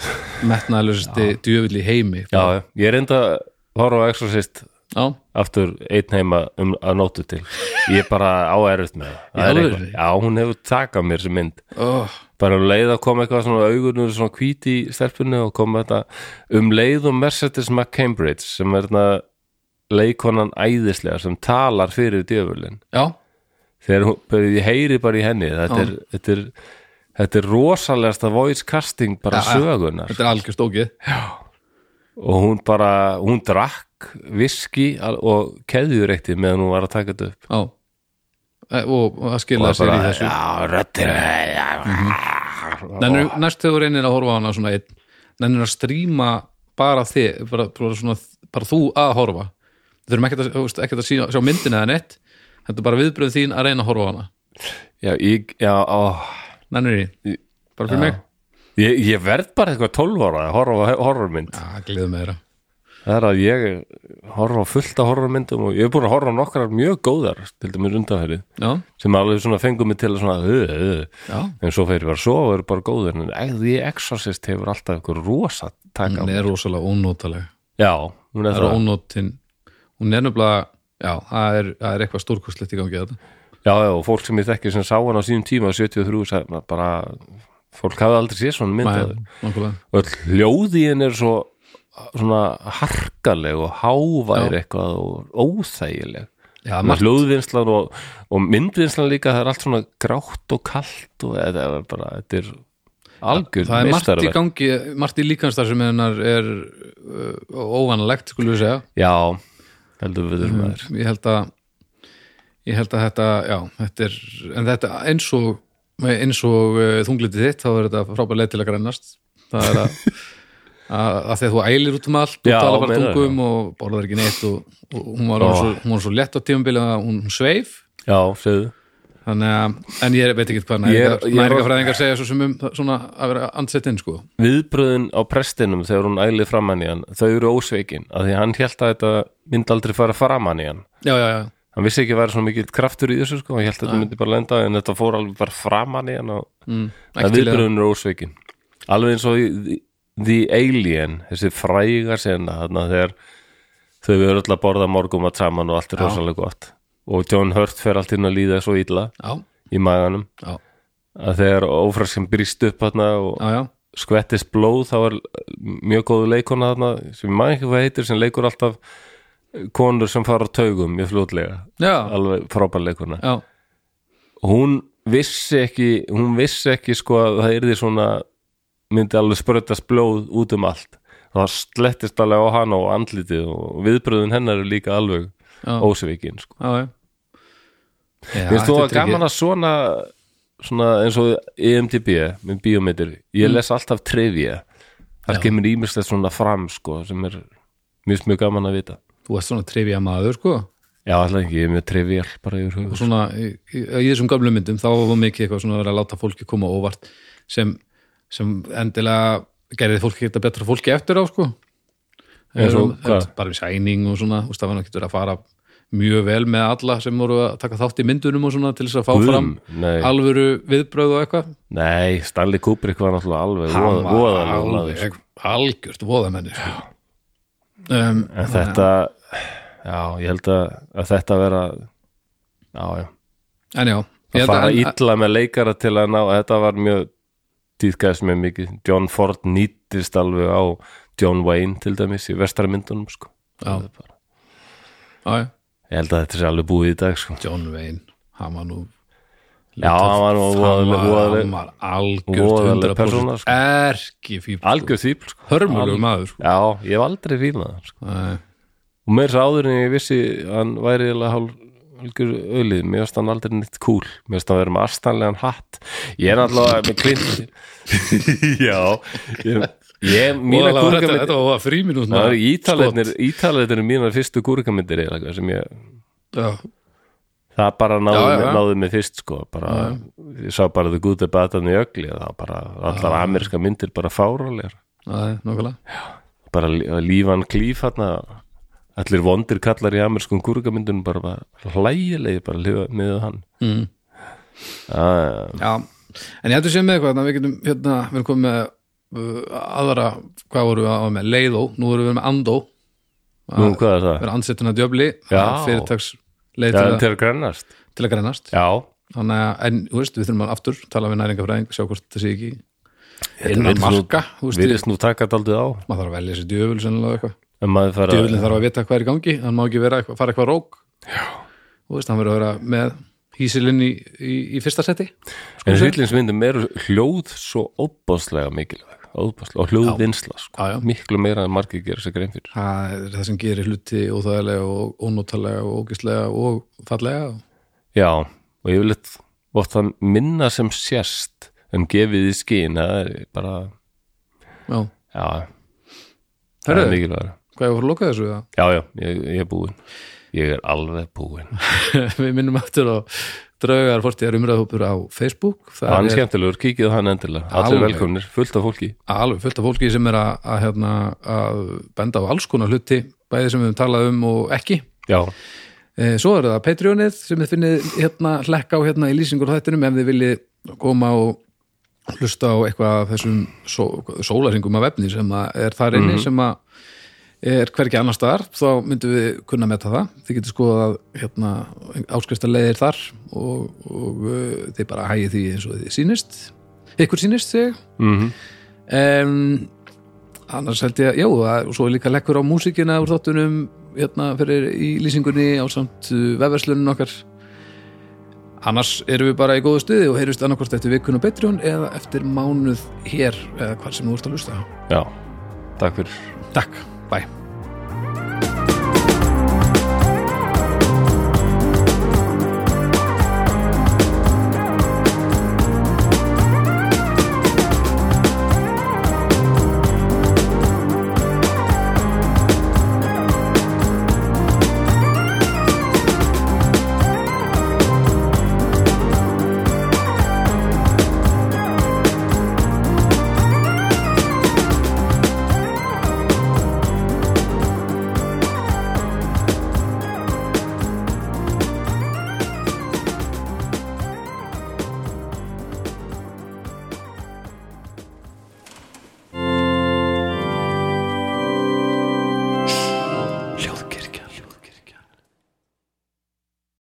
metnaðalösasti djöfull í heimi
já, ég reynda að horfa á Exorcist
já.
aftur einn heima um, að nótu til ég bara á erfitt með það,
Í
það er
alvöru?
eitthvað. já, hún hefur takað mér sem mynd
Oh,
bara um leið að koma eitthvað svona augunur svona hvíti í stelpunni og koma þetta um leið og Mercedes McCambridge sem er þarna leikonan æðislega sem talar fyrir djöfulinn
já,
þegar hún, bara ég heyri bara í henni þetta er, þetta er, þetta er rosalegasta voice casting bara
Já, já.
sögunar
þetta er algjörst ógið
og hún bara, hún drakk viski al- og keðjureikti meðan hún var að taka þetta upp
Já Eh, og og það
og
skilja sér
bara,
í þessu Mhm.
já, röttir
Nennir, næst þegar þú reynir að horfa á hana svona einn nennir að stríma bara þig bara, bara, svona, bara þú að horfa við þurfum ekkert að, þú veist, ekkert að sjá, sjá myndina eða neitt þetta er bara viðbröð þín að reyna að horfa á hana
já, ég, já, ó
nennir því, bara fyrir mig
Ég, ég verð bara eitthvað 12 ára að horfa á horrormynd.
Já, gleðum með þeirra
Það er að ég horfa á fullt á horrormyndum og ég er búin að horfa á nokkrar mjög góðar, til dæmis undanferðið,
Já,
sem alveg svona fengum mig til að svona, uh, uh,
já,
en svo fer ég bara að sofa og eru bara góðir, en eða ég Exorcist hefur alltaf eitthvað rosa taka.
hún
á-
er rosalega ónótaleg
Mm, Já, hún er
Það er
það.
ónótin Hún er nefnilega, já, það er, það er eitthvað stórkostlegt í gangi þetta
Já, já, og fólk sem ég þekki sem sá hann á sínum tíma 73, sagði, bara, fólk hafði aldrei séð svona mynd að
Nákvæmlega
og öll hljóðin er svo svona harkaleg og hávær eitthvað og óþægileg
Já,
Svona
margt.
hljóðvinnslan og, og myndvinnslan líka það er allt svona grátt og kalt og þetta er bara, þetta er algjör
Það er margt í
meistarverk.
gangi, margt í líkanstar sem hennar er uh, óvanalegt, skulum við segja
Já, heldur við
Mhm.
þurfum aður
Ég held að ég held að þetta, já, þetta er en þetta eins og eins og uh, þunglitið þitt, þá er þetta frábær leið til að grænast það er að að að þegar þú ælir út um allt og
Já,
tala bara
meina
tungum og borðar ekki neitt og, og hún, var orðin
Ó.
svo, hún var svo lett á tímabilið að hún hún sveif
Já, segðu
þannig að, en ég veit ekki hvað
Ég er-
næringar,
ég er-
næringarfræðingar segja svo sem um það- svona að vera andsettinn sko
Viðbröðin á prestinum þegar hún ælið framann í hann þau eru ósveikin, af því hann hélt að þetta myndi aldrei fara framann í hann
já, já, já,
hann vissi ekki að vera svona mikill kraftur í þessu sko, hann hélt að þetta myndi bara lenda en þetta fór alveg bara framann í hann og að
Mm, ættilega.
viðbröðun er ósveikin alveg eins og í The- The Alien þessi fræga sena þarna þegar þau eru öll að borða morgum að saman og allt er rosalega gott og John Hurt fer allt inn að líða svo illa
já,
í maganum
já,
að þegar ófræskan brýst upp hana og
já, já.
skvettist blóð þá er mjög góðu leikona þarna sem ég maður ekki hvað heitir sem leikur alltaf konur sem fara á taugum mjög fljótlega,
já,
alveg frábær leikona
já.
hún vissi ekki hún vissi ekki sko að það yrði svona myndi alveg sprötast blóð út um allt það slettist alveg á hana og andlitið og viðbröðun hennar er líka alveg
Já.
ósvikin sko.
já, já. Já,
Mér finnst þú
þetta
að
er
gaman að svona, svona eins og E EMTB með bíómyndir,
Mm.
ég les alltaf trefja, þar kemur ímislegt svona fram sko, sem er mjög mjög gaman að vita.
ekki- Þú ert svona trefja maður, sko
Já, alltaf ekki, ég er mjög trefja bara yfir
og
hugur.
svona í, í, í þessum gamlu myndum þá var mikið eitthvað svona að vera að láta fólki koma á óvart sem, sem endilega gerði fólki geta betra fólki eftir á sko
Eins og
Erum-
hvað?
erum- bara við sæning og svona úst, það var náttúrulega að fara mjög vel með alla sem voru að taka þátt í myndunum og svona til þess að fá
Guðum,
fram
nei.
alvöru viðbröð og eitthvað
Nei, Stanley Kubrick var náttúrulega alveg
Hann var
voðalega
alveg
laður.
algjört voðamenni sko. um,
En þetta, já, ég held að, að þetta vera, já, já,
en já ég
að
held
fara
að-
illa með leikara til að ná, þetta var mjög týðkæðis með mikið, John Ford nýttist alveg á John Wayne til dæmis í vestarmyndunum sko.
Já.
Það er bara-
Já, já.
ég held að þetta sé alveg búið í dag sko.
John Wayne hann var nú
já, hann var nú voðaleg-
hann
voðaleg-
var algjört
voðaleg persóna, sko.
100% erki fíbl
algjör þýpl sko.
hörmulegu maður sko.
já, ég hef aldrei fílað hann, sko.
Nei,
og með þess að áður en ég vissi hann væri eiginlega hálf algjör öllið, mér finnst hann aldrei nýtt kúl mér finnst hann vera með astanlegan hatt ég er náttúrulega með klint já ég, ég, mína
voðalega var
kúlga
þetta, þetta var fríminút
Það eru ítalegnir, ítalegnir mínar fyrstu gúrkamyndir eða eitthvað sem ég það bara náði,
Já, já,
já,
já.
náði mig fyrst sko, bara, ég sá bara The Good, The Bad and the Ugly það var bara, allar ameríska myndir bara fárálegar
nákvæmlega
bara lí- lífan klíf hérna allir vondir kallar í amerískum gúrkamyndunum bara, bara hlægilegi bara lifa með hann
Mm.
ah,
Já, en ég hættu séð með eitthvað þannig að við getum, hérna, við erum komið með uh, aðra, hvað vorum við að með Leiðó, nú erum við með Andó við Ah,
nú hvað er það?
erum ansettuna djöfli
Já.
fyrirtags leið
Já,
til,
en
að-
til að grannast
til að grænast
já,
þannig að, en, þú veist, við þurfum að aftur tala við næringafræðing, sjá hvort það sé ekki innan
virðist nú-
marka, þú veist,
virðist nú taka þetta aldrei á
maður þarf að velja sér djöful sennilega og eitthvað,
en maður fara
djöfulin þarf að vita hvað er í gangi hann má ekki vera eitthvað, fara eitthvað rók já. og veist, hann verður að vera með hísilinn í, í, í fyrsta seti
En hryllinsmyndum eru hljóð svo óbáslega mikilvæg óbáslega, og hljóðvinnsla sko.
Já, já.
miklu meira en margir gera sér grein fyrir
það er það sem gerir hluti óþægilega og ónóttalega og ógislega og fallega
Já, og ég vil vott það minna sem sérst en gefið í skín það er bara,
já,
já, það er
herru,
mikilvæg
hvað er að fara að loka þessu eða?
Já, já, ég, ég er búinn Ég er alveg búinn
við minnum aftur á draugar fórtíðar umræðhópur á Facebook það
Hann er
er
skemmtilegur, kíkið á hann endilega Allir
Alveg.
velkomnir, fullt af fólki
alveg fullt af fólki sem er að, að, hérna, að benda á alls konar hluti bæði sem við höfum talað um og ekki
Já,
Eh, Svo er það Patreonið sem þið finnið hérna hlekka á hérna í lýsingur á þættinum ef þið viljið koma og hlusta á eitthvað af þessum só, sólaringum af efni sem að er þar inni sem að er hvergi annar staðar þá myndum við kunna metta það þið getur skoðað hérna áskriftarleiðir þar og, og uh, þið bara hægið því eins og þið sýnist ykkur sýnist þig
mm
um, annars held ég að, já, það- og svo er líka lekkur á músikina úr þáttunum hérna fyrir í lýsingunni á samt vefverslunin okkar annars erum við bara í góðu stuði og heyrjumst annarkvort eftir vikun og Patreon eða eftir mánuð hér eða hvað sem þú ert að lusta
já, takk fyrir
Takk, bæ